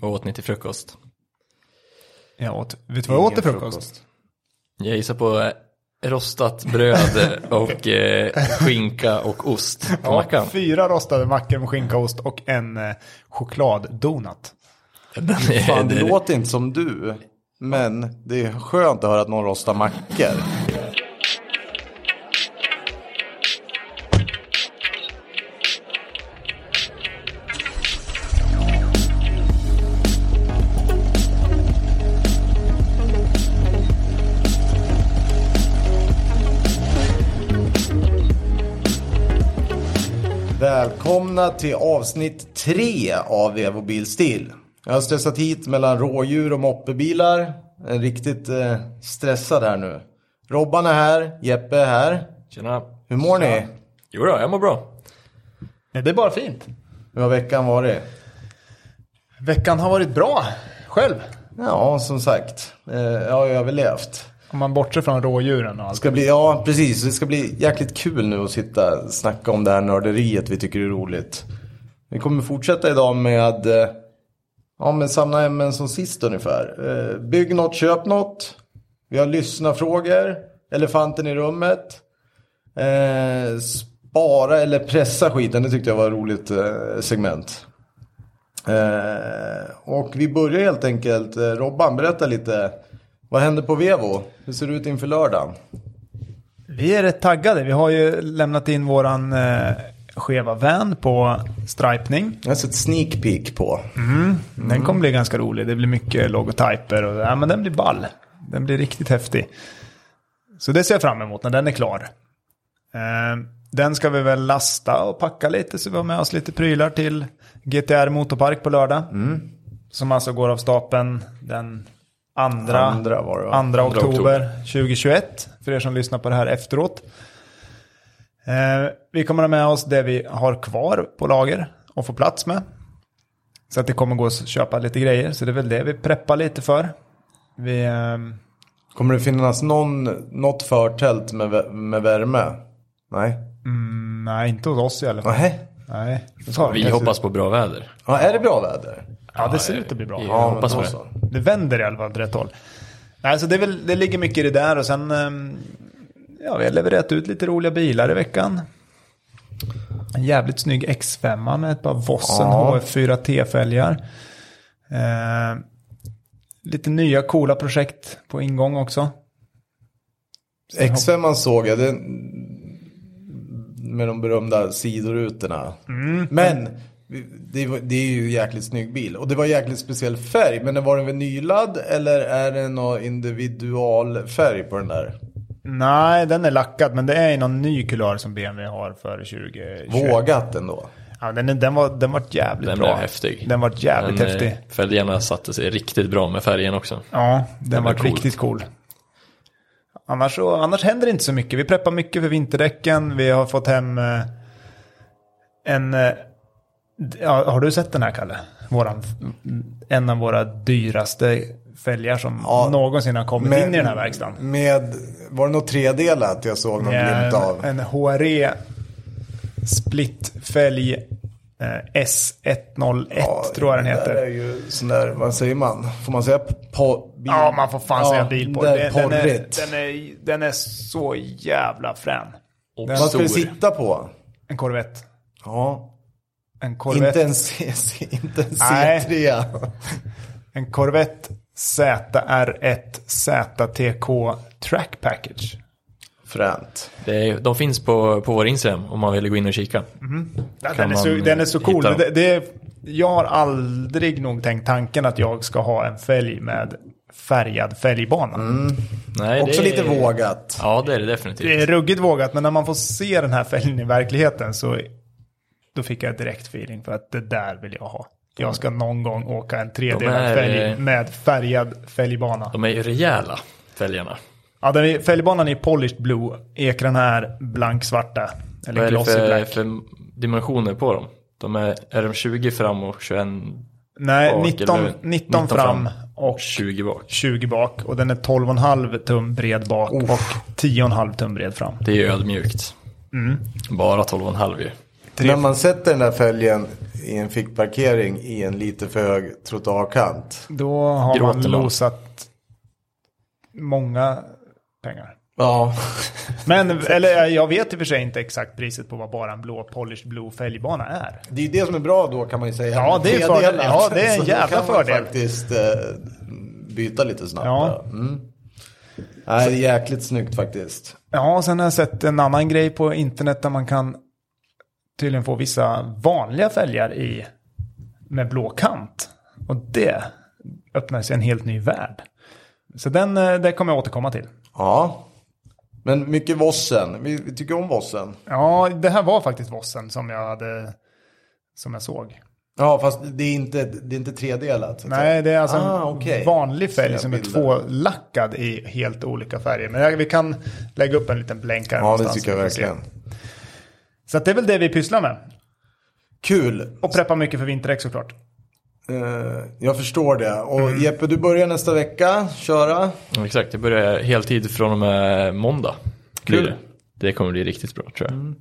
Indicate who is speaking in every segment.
Speaker 1: Vad åt ni till frukost?
Speaker 2: Jag åt, vet du vad jag åt till frukost?
Speaker 1: Jag gissar på eh, rostat bröd och eh, skinka och ost på mackan.
Speaker 2: Fyra rostade mackor med skinka och ost och en eh, chokladdonut.
Speaker 1: Den är,
Speaker 3: Fan, det
Speaker 1: det-
Speaker 3: låter inte som du. Men det är skönt att höra att någon rostar mackor. Välkomna till avsnitt tre av Evo Bilstil. Jag har stressat hit mellan rådjur och moppebilar. En riktigt eh, stressad här nu. Robban är här, Jeppe är här.
Speaker 1: Tjena.
Speaker 3: Hur mår ni?
Speaker 1: Jo då, jag mår bra.
Speaker 2: Nej, det är bara fint.
Speaker 3: Hur har veckan varit?
Speaker 2: Veckan har varit bra. Själv.
Speaker 3: Ja, som sagt. Eh, jag har ju överlevt.
Speaker 2: Om man bortser från rådjuren och
Speaker 3: Det
Speaker 2: allt.
Speaker 3: ska bli, ja, precis. Det ska bli jäkligt kul nu att sitta och snacka om det här nörderiet vi tycker är roligt. Vi kommer fortsätta idag med eh, ja, men samma ämnen som sist ungefär. Eh, Bygg något, köp något. Vi har lyssnarfrågor. Elefanten i rummet. Eh, Spara eller pressa skiten. Det tyckte jag var ett roligt eh, segment. Eh, Och vi börjar helt enkelt. Eh, Robban, berätta lite. Vad händer på Vevo? Hur ser det ut inför lördagen?
Speaker 2: Vi är rätt taggade. Vi har ju lämnat in våran eh, skeva van på stripning.
Speaker 3: Jag har sett Alltså sneak peek på.
Speaker 2: Den kommer bli ganska rolig. Det blir mycket logotyper och ja, men den blir ball. Den blir riktigt häftig. Så det ser jag fram emot när den är klar. Eh, den ska vi väl lasta och packa lite så vi har med oss lite prylar till GTR Motorpark på lördag.
Speaker 3: Mm.
Speaker 2: Som alltså går av stapeln den andra,
Speaker 3: Andra var det, va?
Speaker 2: andra
Speaker 1: Andra
Speaker 2: oktober,
Speaker 1: oktober.
Speaker 2: 2021. För er som lyssnar på det här efteråt. Eh, vi kommer ha med oss det vi har kvar på lager och får plats med. Så att det kommer gå att köpa lite grejer. Så det är väl det vi preppar lite för. Vi, ehm,
Speaker 3: Kommer det finnas någon, något förtält med, vä- med värme? Nej.
Speaker 2: mm, nej, inte hos oss i alla fall.
Speaker 3: Nej.
Speaker 2: Nej. Så,
Speaker 1: Vi hoppas på bra väder.
Speaker 3: Ja, är det bra väder?
Speaker 2: Ja, det ser ut att bli bra.
Speaker 1: Ja. Jag hoppas
Speaker 3: men alltså.
Speaker 1: på
Speaker 3: då
Speaker 1: det.
Speaker 3: så.
Speaker 2: Det vänder i alla fall åt rätt håll. Nej, så det, är väl, det ligger mycket i det där och sen... ehm, Ja, vi har levererat ut lite roliga bilar i veckan. En jävligt snygg X5 med ett par Vossen
Speaker 3: Ja.
Speaker 2: HF4 T-fälgar. Eh, lite nya coola projekt på ingång också.
Speaker 3: X5 såg jag. Det, med de berömda sidorutorna.
Speaker 1: Mm.
Speaker 3: Men det, var- det är ju en jäkligt snygg bil. Och det var jäkligt speciell färg. Men var den vinylad eller är det någon individual färg på den där?
Speaker 2: Nej, den är lackad, men det är ju någon ny kulör som BMW har för 2020.
Speaker 3: Vågat ändå.
Speaker 2: Ja, den, är- den, var, den var jävligt
Speaker 1: Den
Speaker 2: bra.
Speaker 1: blev häftig.
Speaker 2: Den var jävligt
Speaker 1: Men, eh,
Speaker 2: häftig.
Speaker 1: Fälgarna satte sig riktigt bra med färgen också.
Speaker 2: Ja, den, var
Speaker 1: var cool.
Speaker 2: riktigt cool. Annars, så, annars händer det inte så mycket. Vi preppar mycket för vinterdäcken. Vi har fått hem eh, en... eh, d- Ja, har du sett den här, Kalle? Våran, en av våra dyraste fälgar som
Speaker 3: Ja,
Speaker 2: någonsin har kommit
Speaker 3: Men-
Speaker 2: in i den här verkstaden.
Speaker 3: Med, var det något tredelat jag såg någon glimt
Speaker 2: En,
Speaker 3: av?
Speaker 2: en E HRE Split-fälg eh, S101 tror jag den
Speaker 3: Det där
Speaker 2: heter.
Speaker 3: är ju sån där, vad säger man? Får man säga po- bil?
Speaker 2: Ja, man får fan säga bil på
Speaker 3: det.
Speaker 2: den.
Speaker 3: är
Speaker 2: Den är,
Speaker 3: porrigt.
Speaker 2: den, är, den är så jävla frän.
Speaker 1: Och
Speaker 3: Vad ska
Speaker 1: stor.
Speaker 3: du sitta på?
Speaker 2: En Corvette.
Speaker 3: Ja.
Speaker 2: En Corvette.
Speaker 3: Inte en, C, C- inte en
Speaker 2: Nej.
Speaker 3: C3.
Speaker 2: En Corvette ZR1 ZTK Track Package.
Speaker 3: Fränt.
Speaker 1: Det är, de finns på, på vår Instagram om man vill gå in och kika.
Speaker 2: Ja,
Speaker 1: Kan
Speaker 2: den, är så,
Speaker 1: man
Speaker 2: den är så cool.
Speaker 1: hitta
Speaker 2: Det,
Speaker 1: dem?
Speaker 2: det, jag har aldrig nog tänkt tanken att jag ska ha en fälg med färgad fälgbana.
Speaker 1: Nej,
Speaker 3: Också
Speaker 1: det är,
Speaker 3: lite vågat.
Speaker 1: Ja, det är det definitivt.
Speaker 2: Det är ruggigt vågat, men när man får se den här fälgen i verkligheten så då fick jag direkt feeling för att det där vill jag ha. Jag ska någon gång åka en
Speaker 1: De eh,
Speaker 2: tredelad
Speaker 1: är-
Speaker 2: fälg med färgad fälgbana.
Speaker 1: De är ju rejäla, fälgarna.
Speaker 2: Ja, den är, fälgbanan är polished blue, ekrarna är blanksvarta.
Speaker 1: Vad
Speaker 2: Eller
Speaker 1: är det
Speaker 2: glossy
Speaker 1: för,
Speaker 2: black.
Speaker 1: för dimensioner på dem? De är, är de 20 fram och 21,
Speaker 2: Nej,
Speaker 1: bak
Speaker 2: 19,
Speaker 1: eller-
Speaker 2: 19 fram och
Speaker 1: 20 bak?
Speaker 2: 20 bak. Och den är 12,5 tum bred bak och 10,5 tum bred fram.
Speaker 1: Det är ju ödmjukt. Bara 12,5 ju.
Speaker 3: När man sätter den där fälgen i en fickparkering i en lite för hög trottoarkant.
Speaker 2: Då har
Speaker 1: Gråter
Speaker 2: man
Speaker 1: man.
Speaker 2: losat många pengar.
Speaker 3: Ja.
Speaker 2: Men, eller eh, jag vet i och för sig inte exakt priset på vad bara en blå polished blue fälgbana är.
Speaker 3: Det är ju det som är bra då kan man ju säga.
Speaker 2: Ja, det är
Speaker 3: Tredelat.
Speaker 2: fördel. Ja, det är en
Speaker 3: Så då
Speaker 2: jävla
Speaker 3: kan man
Speaker 2: fördel.
Speaker 3: faktiskt eh, byta lite snabbt.
Speaker 2: Ja.
Speaker 3: Mm. Nej, det är jäkligt snyggt faktiskt.
Speaker 2: Ja, och sen har jag sett en annan grej på internet där man kan tydligen få vissa vanliga fälgar i med blå kant. Och det öppnar sig en helt ny värld. Så den, eh, det kommer jag återkomma till.
Speaker 3: Ja. Men mycket Vossen. Vi, vi tycker om Vossen.
Speaker 2: Ja, det här var faktiskt vossen som jag hade som jag såg.
Speaker 3: Ja, fast det är inte, det är inte tredelat. så att säga.
Speaker 2: Nej, det är alltså
Speaker 3: Ah,
Speaker 2: en
Speaker 3: okej.
Speaker 2: vanlig
Speaker 3: Ser
Speaker 2: fälg
Speaker 3: jag
Speaker 2: som är
Speaker 3: bilder.
Speaker 2: tvålackad i helt olika färger. Men jag- vi kan lägga upp en liten blänkare
Speaker 3: Ja, det
Speaker 2: någonstans
Speaker 3: tycker jag
Speaker 2: så vi får se.
Speaker 3: verkligen.
Speaker 2: Så att det är väl det vi pysslar med.
Speaker 3: Kul.
Speaker 2: Och preppar mycket för vinterdäck såklart.
Speaker 3: Eh, jag förstår det. Och
Speaker 2: Mm.
Speaker 3: Jeppe, du börjar nästa vecka köra.
Speaker 1: Ja, Exakt, det börjar heltid från och med måndag. Blir
Speaker 3: Kul.
Speaker 1: Det. det kommer bli riktigt bra tror jag.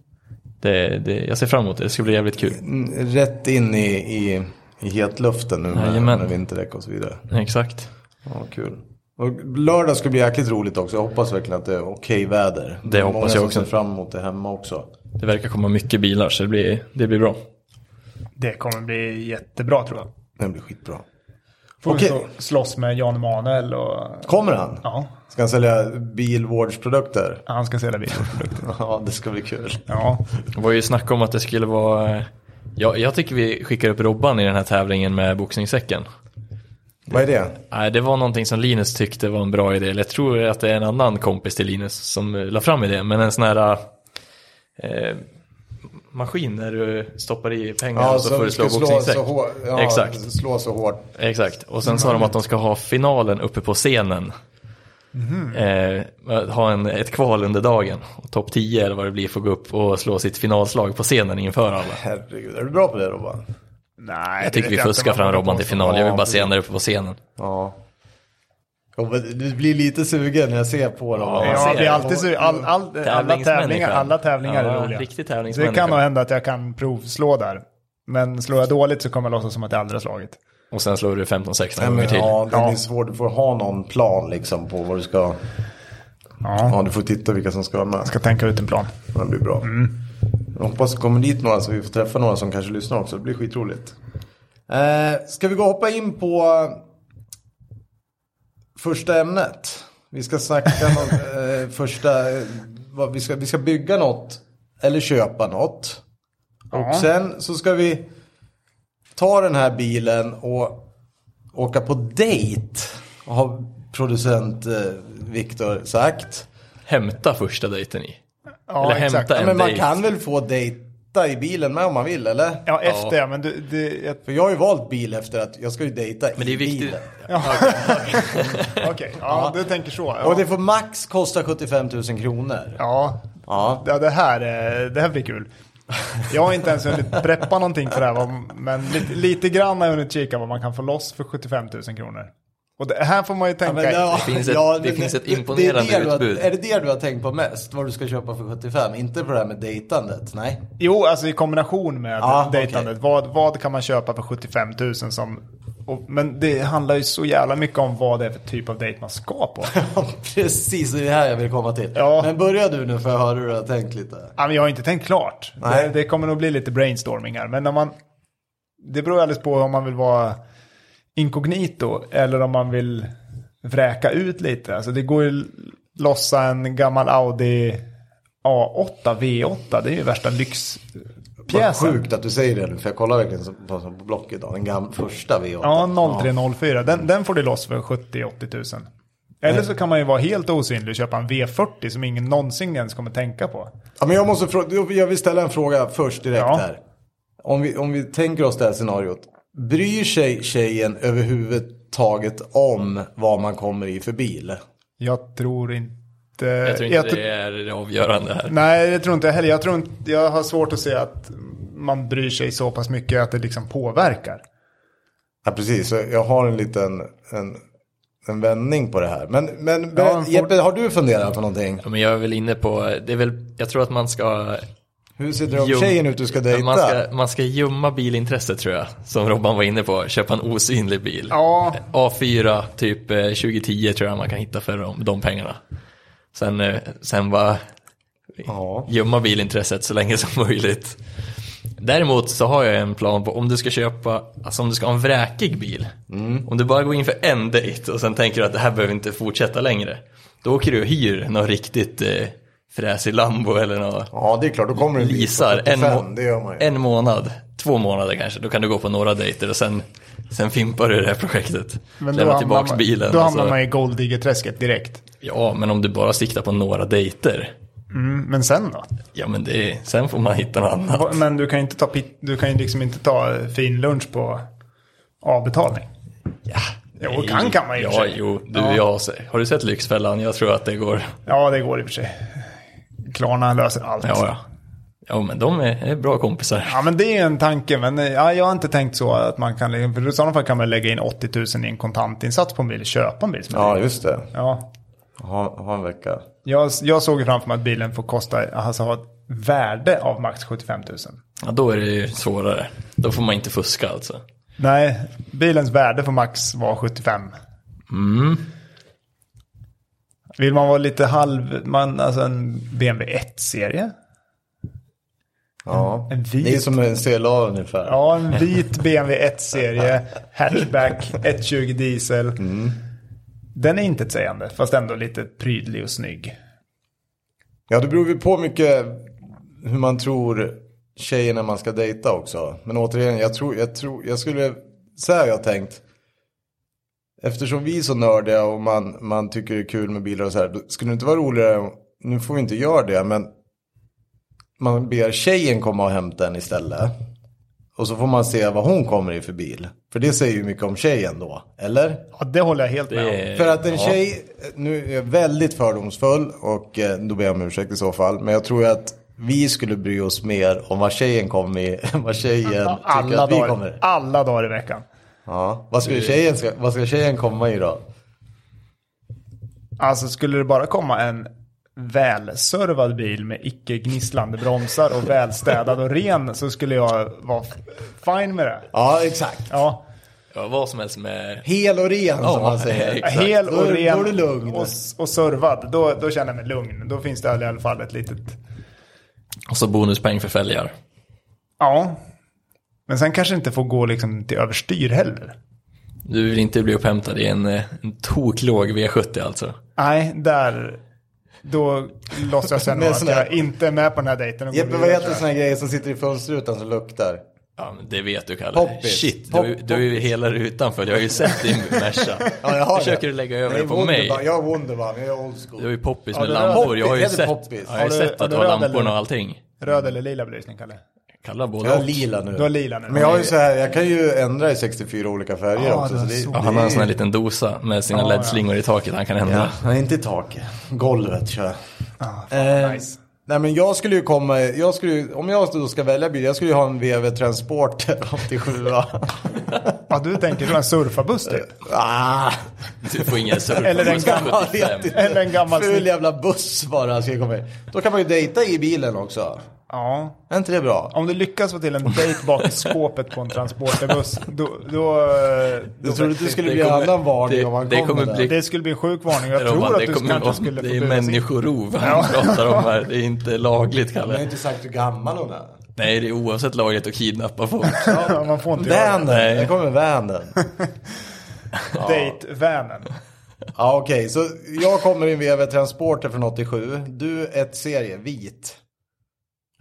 Speaker 1: Det, det, jag ser fram emot det, det ska bli jävligt kul.
Speaker 3: Mm, Rätt in i, i, i hetluften nu med,
Speaker 1: Jajamän.
Speaker 3: med vinterdäck och så vidare.
Speaker 1: Exakt.
Speaker 3: Ja, kul. Och lördag ska bli jäkligt roligt också. Jag hoppas verkligen att det är okej väder.
Speaker 1: Det hoppas
Speaker 3: Många
Speaker 1: jag
Speaker 3: som
Speaker 1: också.
Speaker 3: ser fram emot det hemma också.
Speaker 1: Det verkar komma mycket bilar så det blir, det blir bra.
Speaker 2: Det kommer bli jättebra tror jag.
Speaker 3: Det blir skitbra.
Speaker 2: Får
Speaker 3: Okej.
Speaker 2: vi så slåss med Jan Emanuel och...
Speaker 3: Kommer han?
Speaker 2: Ja,
Speaker 3: Ska han sälja bilvårdsprodukter?
Speaker 2: han ska sälja bilprodukter.
Speaker 3: Ja, det ska bli kul.
Speaker 2: Ja,
Speaker 1: Det var ju snack om att det skulle vara... Ja, jag tycker vi skickar upp Robban i den här tävlingen med boxningssäcken.
Speaker 3: Vad är det?
Speaker 1: Nej, det var någonting som Linus tyckte var en bra idé. Eller jag tror att det är en annan kompis till Linus som eh, la fram idén. Men en sån här eh, maskin där du stoppar i pengar och så får du slå
Speaker 3: ska
Speaker 1: boxningssäck.
Speaker 3: så hårt. Ja,
Speaker 1: Exakt.
Speaker 3: Slå så hårt.
Speaker 1: Exakt, och sen sa de att de ska ha finalen uppe på scenen.
Speaker 3: Mhm.
Speaker 1: Eh, ha en, ett kval under dagen, och topp 10 eller vad det blir får gå upp och slå sitt finalslag på scenen inför alla.
Speaker 3: Herregud, är du bra på det Robban?
Speaker 2: nej.
Speaker 1: Jag tycker vi fuskar fram Robban till final, jag vill bara se henne uppe på scenen.
Speaker 3: Ja. Ja, men Du blir lite sugen när jag ser på dem.
Speaker 1: Ja,
Speaker 2: Ja,
Speaker 1: ser
Speaker 2: vi
Speaker 1: det.
Speaker 2: är alltid så, all, all, alla tävlingar,
Speaker 1: Tävlingsmänniskan.
Speaker 2: alla tävlingar
Speaker 1: Ja,
Speaker 2: är roliga.
Speaker 1: Riktig
Speaker 2: Så det kan nog
Speaker 1: tävlingsmänniska.
Speaker 2: hända att jag kan provslå där. Men slår jag dåligt så kommer jag låtsas som att jag aldrig har slagit.
Speaker 1: Och sen slår du 15-16
Speaker 3: Nej,
Speaker 1: gånger
Speaker 3: men,
Speaker 1: till.
Speaker 3: ja, det
Speaker 2: Ja.
Speaker 3: är svårt. Du får ha någon plan liksom på vad du ska...
Speaker 2: Ja,
Speaker 3: Ja, du får titta vilka som ska vara med.
Speaker 2: jag ska tänka ut en plan.
Speaker 3: Det blir bra. Jag hoppas det kommer dit några så vi får träffa några som kanske lyssnar också. Det blir skitroligt. Eh, ska vi gå och hoppa in på eh, första ämnet? Vi ska snacka om eh, första... eh, Vad, vi, ska, vi ska bygga något eller köpa något.
Speaker 2: Ja.
Speaker 3: Och sen så ska vi ta den här bilen och åka på dejt. Har producent eh, Viktor sagt.
Speaker 1: Hämta första dejten i.
Speaker 2: Ja,
Speaker 1: Eller
Speaker 2: exakt.
Speaker 1: hämta
Speaker 2: Ja,
Speaker 1: en
Speaker 3: Men man
Speaker 1: dejt.
Speaker 3: kan väl få dejta i bilen med om man vill eller?
Speaker 2: Ja, efter ja. men du, du, jag-
Speaker 3: För jag har ju valt bil efter att jag ska ju dejta
Speaker 1: Men det
Speaker 3: i
Speaker 1: är viktigt.
Speaker 3: bilen.
Speaker 2: okej. Ja, du tänker så.
Speaker 3: Och
Speaker 2: Ja,
Speaker 3: det får max kosta 75 000 kronor.
Speaker 2: ja.
Speaker 3: Ja.
Speaker 2: ja det, här, eh, det här blir kul. Jag har inte ens hunnit preppa någonting för det här, va, men lite, lite grann har jag hunnit kika vad man kan få loss för 75 000 kronor. Och det här får man ju tänka.
Speaker 3: ja,
Speaker 1: finns ett- det
Speaker 3: men
Speaker 1: finns ett
Speaker 3: är
Speaker 1: imponerande
Speaker 3: du har-
Speaker 1: utbud.
Speaker 3: Är det det du har tänkt på mest? Vad du ska köpa för 75? Inte på det här med dejtandet? Nej.
Speaker 2: Jo, alltså i kombination med
Speaker 3: Ja,
Speaker 2: dejtandet. Vad, vad kan man köpa för 75 000 som... Och, men det handlar ju så jävla mycket om vad det är för typ av dejt man ska på.
Speaker 3: Ja, Precis, det är det här jag vill komma till.
Speaker 2: Ja.
Speaker 3: Men börja du nu för jag hör hur du har tänkt lite.
Speaker 2: Ja, men jag har inte tänkt klart.
Speaker 3: Nej.
Speaker 2: Det, det kommer nog bli lite brainstormingar. Men när man... Det beror ju alldeles på om man vill vara inkognito eller om man vill vräka ut lite. Alltså det går ju att lossa en gammal Audi A8 V8. Det är ju värsta
Speaker 3: Vad
Speaker 2: lyxpjäsen.
Speaker 3: sjukt att du säger det nu för jag kollar verkligen så- på, på Blocket idag. Den gamla första V8.
Speaker 2: Ja, 0304. Den, den får du loss för 70-80 000. Eller
Speaker 1: Eh.
Speaker 2: så kan man ju vara helt osynlig och köpa en V40 som ingen någonsin ens kommer tänka på.
Speaker 3: Ja, men jag, måste fråga, jag vill ställa en fråga först direkt
Speaker 2: Ja.
Speaker 3: här. Om vi, om vi tänker oss det här scenariot. Bryr sig tjejen överhuvudtaget om vad man kommer i för bil?
Speaker 2: Jag tror inte...
Speaker 1: Jag tror inte
Speaker 2: tr-
Speaker 1: det är det avgörande här.
Speaker 2: Nej, det tror inte jag heller. Jag, tror inte, jag har svårt att se att man bryr sig så pass mycket att det liksom påverkar.
Speaker 3: Ja, precis. Så Jag har en liten en, en vändning på det här. Men, men
Speaker 2: Ja, en fort-
Speaker 3: Jeppe, har du funderat på någonting?
Speaker 1: Ja, Men jag är väl inne på, det är väl, jag tror att man ska
Speaker 3: Hur ser drömtjejen ut du ska dejta?
Speaker 1: Man ska, man ska gömma bilintresset tror jag, som Robban var inne på. Köpa en osynlig bil.
Speaker 2: Ja.
Speaker 1: A4, typ eh, 2010 tror jag man kan hitta för de, de pengarna. Sen, eh, sen bara
Speaker 3: Ja.
Speaker 1: gömma bilintresset så länge som möjligt. Däremot så har jag en plan på om du ska köpa, alltså om du ska ha en vräkig bil. Om du bara går in för en dejt och sen tänker du att det här behöver inte fortsätta längre. Då åker du och hyr någon riktigt eh, fräsig Lambo eller något.
Speaker 3: Ja, det är klart. Då kommer det en bil på
Speaker 1: Lisar en,
Speaker 3: 75,
Speaker 1: må-
Speaker 3: det gör man ju.
Speaker 1: en månad, två månader kanske. Då kan du gå på några dejter och sen, sen fimpar du det här projektet. Lämna tillbaka
Speaker 2: man,
Speaker 1: bilen.
Speaker 2: Då
Speaker 1: och
Speaker 2: hamnar
Speaker 1: så-
Speaker 2: man i golddiggerträsket direkt.
Speaker 1: Ja, men om du bara siktar på några dejter.
Speaker 2: Mm, men sen då?
Speaker 1: Ja, men det, sen får man hitta något annat.
Speaker 2: Va- Men du kan ju inte ta, pit- du kan ju liksom inte ta eh, fin lunch på avbetalning.
Speaker 1: Ja.
Speaker 2: Jo, kan- kan man ju i och för
Speaker 1: Ja,
Speaker 2: sig.
Speaker 1: jo. Du,
Speaker 2: Ja.
Speaker 1: Jag, har du sett Lyxfällan? Jag tror att det går.
Speaker 2: Ja, det går i och för sig. Klarna löser allt.
Speaker 1: Ja, ja. Ja, men de är, är bra kompisar.
Speaker 2: Ja, men det är en tanke, men eh, ja, jag har inte tänkt så att man kan, liksom- för i sådana fall kan man lägga in 80 000 i en kontantinsats på en bil, köpa en bil som är
Speaker 3: Ja,
Speaker 2: dyr.
Speaker 3: just det.
Speaker 2: ja.
Speaker 3: Ha, ha en vecka.
Speaker 2: Jag, jag såg ju framför mig att bilen får kosta, alltså ha ett värde av max 75 000.
Speaker 1: Ja, då är det ju svårare. Då får man inte fuska alltså.
Speaker 2: Nej, bilens värde får max vara 75. Vill man vara lite halv, man, alltså en BMW 1-serie?
Speaker 3: Ja.
Speaker 2: En vit.
Speaker 3: Det är som en CLA ungefär.
Speaker 2: Ja, en vit BMW 1-serie, hatchback, 120 diesel. Den är inte sägande, fast ändå lite prydlig och snygg.
Speaker 3: Ja, det beror ju på mycket hur man tror tjejerna man ska dejta också. Men återigen, jag tror, jag tror, jag skulle, så här har jag tänkt. Eftersom vi är så nördiga och man, man tycker det är kul med bilar och så här. då Skulle det inte vara roligare, om- nu får vi inte göra det, men man ber tjejen komma och hämta en istället. Och så får man se vad hon kommer i för bil. För det säger ju mycket om tjejen då, eller?
Speaker 2: Ja, det håller jag helt med om.
Speaker 1: Eh,
Speaker 3: För att en
Speaker 1: ja.
Speaker 3: tjej, nu är jag väldigt fördomsfull och eh, då ber jag om ursäkt i så fall. Men jag tror ju att vi skulle bry oss mer om vad tjejen kom i än vad tjejen
Speaker 2: Ja,
Speaker 3: tycker
Speaker 2: Alla
Speaker 3: att vi
Speaker 2: dagar, Eh.
Speaker 3: kommer.
Speaker 2: alla dagar i veckan.
Speaker 3: Ja. Vad, ska tjejen, ska, vad ska tjejen komma i då?
Speaker 2: Alltså skulle det bara komma en välservad bil med icke gnisslande bromsar och välstädad och ren så skulle jag vara fine med det.
Speaker 3: Ja, exakt.
Speaker 2: Ja,
Speaker 1: Ja, vad som helst med...
Speaker 3: Hel och ren som man säger.
Speaker 1: exakt.
Speaker 2: hel
Speaker 3: Då
Speaker 2: och
Speaker 3: är du-
Speaker 2: ren
Speaker 3: då är du lugn.
Speaker 2: Och, s- och servad, då, då känner jag mig lugn. Då finns det i alla fall ett litet,
Speaker 1: Och så bonuspeng för fälgar.
Speaker 2: ja. Men sen kanske inte får gå liksom till överstyr heller.
Speaker 1: Du vill inte bli upphämtad i en, eh, en toklåg V70 alltså.
Speaker 2: Nej, där, då låtsas jag sen
Speaker 3: Med
Speaker 2: att
Speaker 3: sån här-
Speaker 2: jag inte är med på den här dejten. och går
Speaker 3: Jeppe, vad
Speaker 2: vidare.
Speaker 3: heter såna här grejer som sitter i fönsterrutan som luktar?
Speaker 1: Ja, men det vet du Kalle.
Speaker 3: Poppis.
Speaker 1: Shit,
Speaker 3: Pop-
Speaker 1: du, du är ju hela rutan för jag har ju sett din Merca.
Speaker 3: Ja, jag har
Speaker 1: Försöker
Speaker 3: det.
Speaker 1: du lägga över
Speaker 3: Nej,
Speaker 1: det på mig?
Speaker 3: Wunderbar. Jag är Wunderbar, jag är old
Speaker 1: Du har
Speaker 3: school.
Speaker 1: ju poppis
Speaker 2: Ja,
Speaker 1: med
Speaker 2: det där-
Speaker 1: lampor. Jag har ju
Speaker 3: Poppis, det
Speaker 1: sett,
Speaker 3: är poppis.
Speaker 1: Ja, jag har ju
Speaker 2: Har du-
Speaker 1: sett
Speaker 2: har
Speaker 1: att
Speaker 2: du
Speaker 1: du har
Speaker 2: röd eller-
Speaker 1: lamporna och allting.
Speaker 2: Röd eller lila belysning, Kalle?
Speaker 1: Kalla både
Speaker 3: Jag är
Speaker 1: och.
Speaker 3: lila nu.
Speaker 2: Du har lila nu.
Speaker 3: Men jag har ju så här, jag kan ju ändra i 64 olika färger
Speaker 2: Ja,
Speaker 3: också.
Speaker 2: det
Speaker 3: Så
Speaker 2: är
Speaker 3: det,
Speaker 2: så.
Speaker 1: Ja, han har en sån här liten dosa med sina
Speaker 2: Ja,
Speaker 1: LED-slingor i taket han kan ändra.
Speaker 3: Ja, nej, inte i taket. Golvet kör jag.
Speaker 2: Ah,
Speaker 3: Eh,
Speaker 2: nice.
Speaker 3: Nej men jag skulle ju komma, jag skulle, ju- om jag då ska välja bil, jag skulle ju ha en VW Transporter 87
Speaker 2: Ja, du tänker du en surfarbuss typ?
Speaker 3: ah,
Speaker 1: Du får ingen surf.
Speaker 2: Eller den
Speaker 1: Du ska
Speaker 2: gamla-
Speaker 1: 75.
Speaker 2: Eller en gammal
Speaker 3: Ful
Speaker 2: snitt-
Speaker 3: jävla buss bara ska jag komma i. Då kan man ju dejta i bilen också.
Speaker 2: Ja.
Speaker 3: Är inte det bra?
Speaker 2: Om du lyckas få till en dejt bak i skåpet på en transporterbuss, då... då, eh,
Speaker 3: Jag
Speaker 2: då
Speaker 3: trodde att det skulle
Speaker 1: Det
Speaker 3: bli en
Speaker 1: kommer-
Speaker 3: annan varning
Speaker 1: det-
Speaker 3: om man
Speaker 1: det
Speaker 3: kommer,
Speaker 1: kommer
Speaker 3: där.
Speaker 1: bli-
Speaker 2: det skulle bli en sjuk varning. Jag
Speaker 1: Robban,
Speaker 2: tror att
Speaker 1: det,
Speaker 2: du
Speaker 1: kommer
Speaker 2: kanske
Speaker 1: vara-
Speaker 2: skulle
Speaker 1: det
Speaker 2: få
Speaker 1: är
Speaker 2: buras in.
Speaker 1: människorov han pratar om här. Det är inte lagligt,
Speaker 3: Jag har
Speaker 1: Kalle.
Speaker 3: inte sagt hur gammal hon är.
Speaker 1: Nej, det är oavsett lagligt att kidnappa folk.
Speaker 2: Ja, Man får inte göra
Speaker 3: Vänen,
Speaker 2: det.
Speaker 1: Nej.
Speaker 3: där kommer vänen.
Speaker 2: Dejtvänen.
Speaker 3: Ja okej, så jag kommer i en VW Transporter från 87. Du ett serie, vit.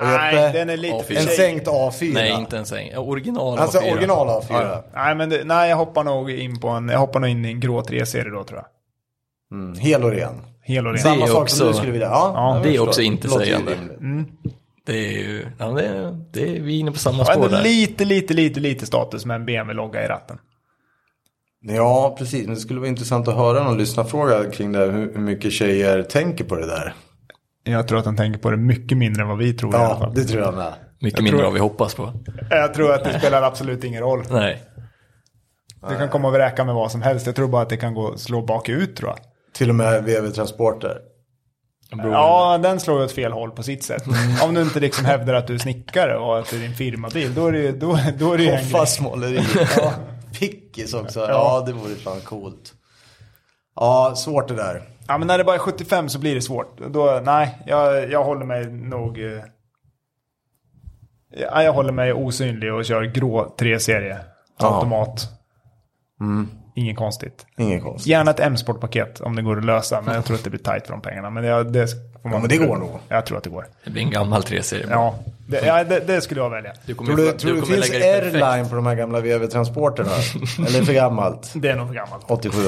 Speaker 3: Och Jeppe,
Speaker 2: Nej, den är lite
Speaker 1: Åh, fy.
Speaker 2: för
Speaker 3: en
Speaker 2: tjej.
Speaker 3: sänkt A4.
Speaker 1: Nej, inte en säng. Ja, Original
Speaker 3: Alltså
Speaker 1: A4.
Speaker 3: original A4.
Speaker 1: Mm.
Speaker 2: Nej, men det, nej, jag hoppar nog in på en... Jag hoppar nog in i en grå 3-serie då, tror jag.
Speaker 3: Mm, hel och ren.
Speaker 2: Hel och ren.
Speaker 3: Samma sak
Speaker 1: också-
Speaker 3: som du skulle vilja. Ja,
Speaker 2: Ja,
Speaker 3: jag
Speaker 1: det är
Speaker 3: förstår.
Speaker 1: också inte
Speaker 3: Låter ju
Speaker 1: sägande.
Speaker 3: rimligt. Mm.
Speaker 1: Det är ju... Ja, det är, det är, vi är inne på samma
Speaker 2: Och
Speaker 1: spår
Speaker 2: ändå
Speaker 1: där.
Speaker 2: lite, lite, lite, lite status med en BMW-logga i ratten.
Speaker 3: Ja, precis. Men det skulle vara intressant att höra någon lyssnarfråga kring det. här, Hur hur mycket tjejer tänker på det där.
Speaker 2: Jag tror att han tänker på det mycket mindre än vad vi tror i alla fall.
Speaker 3: det tror jag med.
Speaker 1: Mycket mindre än vad vi hoppas på.
Speaker 2: Jag tror att det spelar absolut ingen roll.
Speaker 1: Nej.
Speaker 2: Du kan komma och vräka med vad som helst. Jag tror bara att det kan gå slå bakut tror jag.
Speaker 3: Till och med VW Transporter.
Speaker 1: Bro,
Speaker 2: Ja, den slår ju åt fel håll på sitt sätt. Om du inte liksom hävdar att du är snickare och att det är din firmabil, då är det ju då, då är det ju en grej.
Speaker 3: Hoffas måleri. Ja. Pickis också. Ja, det vore fan coolt. Ja, svårt det där.
Speaker 2: Ja, men när det bara är 75 så blir det svårt. Då, nej, jag, jag håller mig nog... eh, Ja, jag håller mig osynlig och kör grå 3-serie.
Speaker 3: Ja. Mm.
Speaker 2: Automat. Inget konstigt.
Speaker 3: Inget konstigt.
Speaker 2: Gärna ett M-sportpaket om det går att lösa, men jag tror att det blir tajt för de pengarna. Men jag, det får man
Speaker 3: men det går nog.
Speaker 2: Jag tror att det går.
Speaker 1: Det blir en gammal 3-serie.
Speaker 2: Ja, det, ja, det, det skulle jag välja.
Speaker 1: Du kommer,
Speaker 3: Tror du,
Speaker 1: du
Speaker 3: tror du,
Speaker 1: kommer
Speaker 3: finns
Speaker 1: lägga dig perfekt.
Speaker 3: airline på de här gamla VV-transporterna? Eller för gammalt?
Speaker 2: Det är nog för gammalt.
Speaker 3: 87.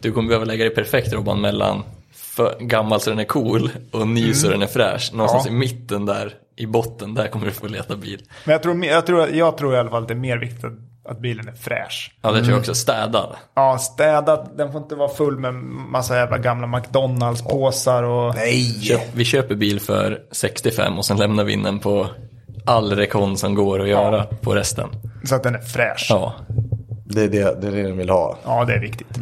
Speaker 1: Du kommer behöva lägga dig perfekt Robban mellan för gammal så den är cool och ny så den är fräsch. Någonstans
Speaker 2: Ja.
Speaker 1: i mitten där, i botten, där kommer du få leta bil.
Speaker 2: Men jag tror, jag, tror, jag tror i alla fall att det är mer viktigt att, att bilen är fräsch.
Speaker 1: Ja, det tror jag också. Städad.
Speaker 2: Ja, städad. Den får inte vara full med massa jävla gamla McDonalds-påsar och...
Speaker 3: Nej!
Speaker 1: Köp, vi köper bil för 65 och sen lämnar vi in den på all rekon som går att göra på resten.
Speaker 2: Så att den är fräsch. Ja,
Speaker 1: Ja,
Speaker 3: Det är det, det, är det de vill ha.
Speaker 2: det är viktigt.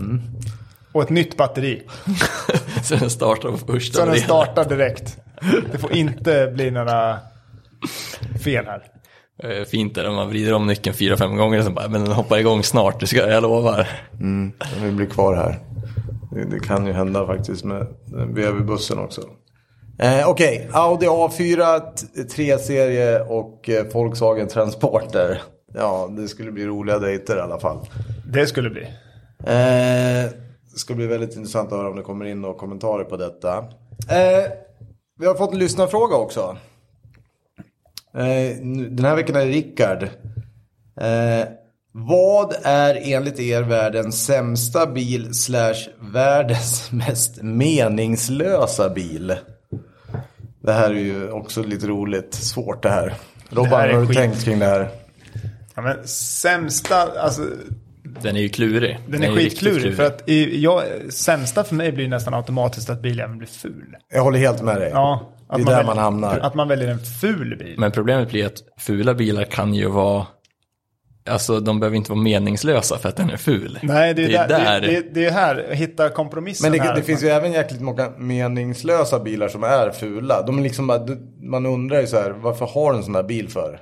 Speaker 2: Och ett nytt batteri.
Speaker 1: så den startar på första
Speaker 2: Så den
Speaker 1: delen.
Speaker 2: startar direkt. Det får inte bli några fel här.
Speaker 1: Eh, Fint är det, man vrider om nyckeln fyra, fem gånger så bara, men den hoppar igång snart, det ska jag lovar.
Speaker 3: Vi blir kvar här. Det, det kan ju hända faktiskt med VV-bussen också. Eh, Okej, Audi A4, 3-serie och eh, Volkswagen Transporter. Ja, det skulle bli roliga dejter i alla fall.
Speaker 2: Det skulle bli.
Speaker 3: Eh, det ska bli väldigt intressant att höra om det kommer in några kommentarer på detta. Eh, vi har fått en lyssnarfråga också. Eh, nu- den här veckan är det Rickard. Eh, vad är enligt er världens sämsta bil slash världens mest meningslösa bil? Det här är ju också lite roligt. Svårt det här. Robban,
Speaker 2: här är
Speaker 3: har du
Speaker 2: skit.
Speaker 3: tänkt kring det här?
Speaker 2: Ja, men sämsta, alltså
Speaker 1: Den är ju klurig.
Speaker 2: den är
Speaker 1: ju riktigt
Speaker 2: skitklurig. För att i, jag, sämsta för mig blir nästan automatiskt att bilen blir ful.
Speaker 3: Jag håller helt med dig.
Speaker 2: Ja, att
Speaker 3: det är där
Speaker 2: väljer-
Speaker 3: man hamnar.
Speaker 2: Att man väljer en ful bil.
Speaker 1: Men problemet blir att fula bilar kan ju vara, alltså de behöver inte vara meningslösa för att den är ful.
Speaker 2: Nej, det är, där,
Speaker 1: där.
Speaker 2: Det, det, det är här, hitta kompromissen
Speaker 3: Men det,
Speaker 2: här.
Speaker 3: det finns ju även jäkligt många meningslösa bilar som är fula. De är liksom bara, du- man undrar ju så här, varför har du en sån här bil för?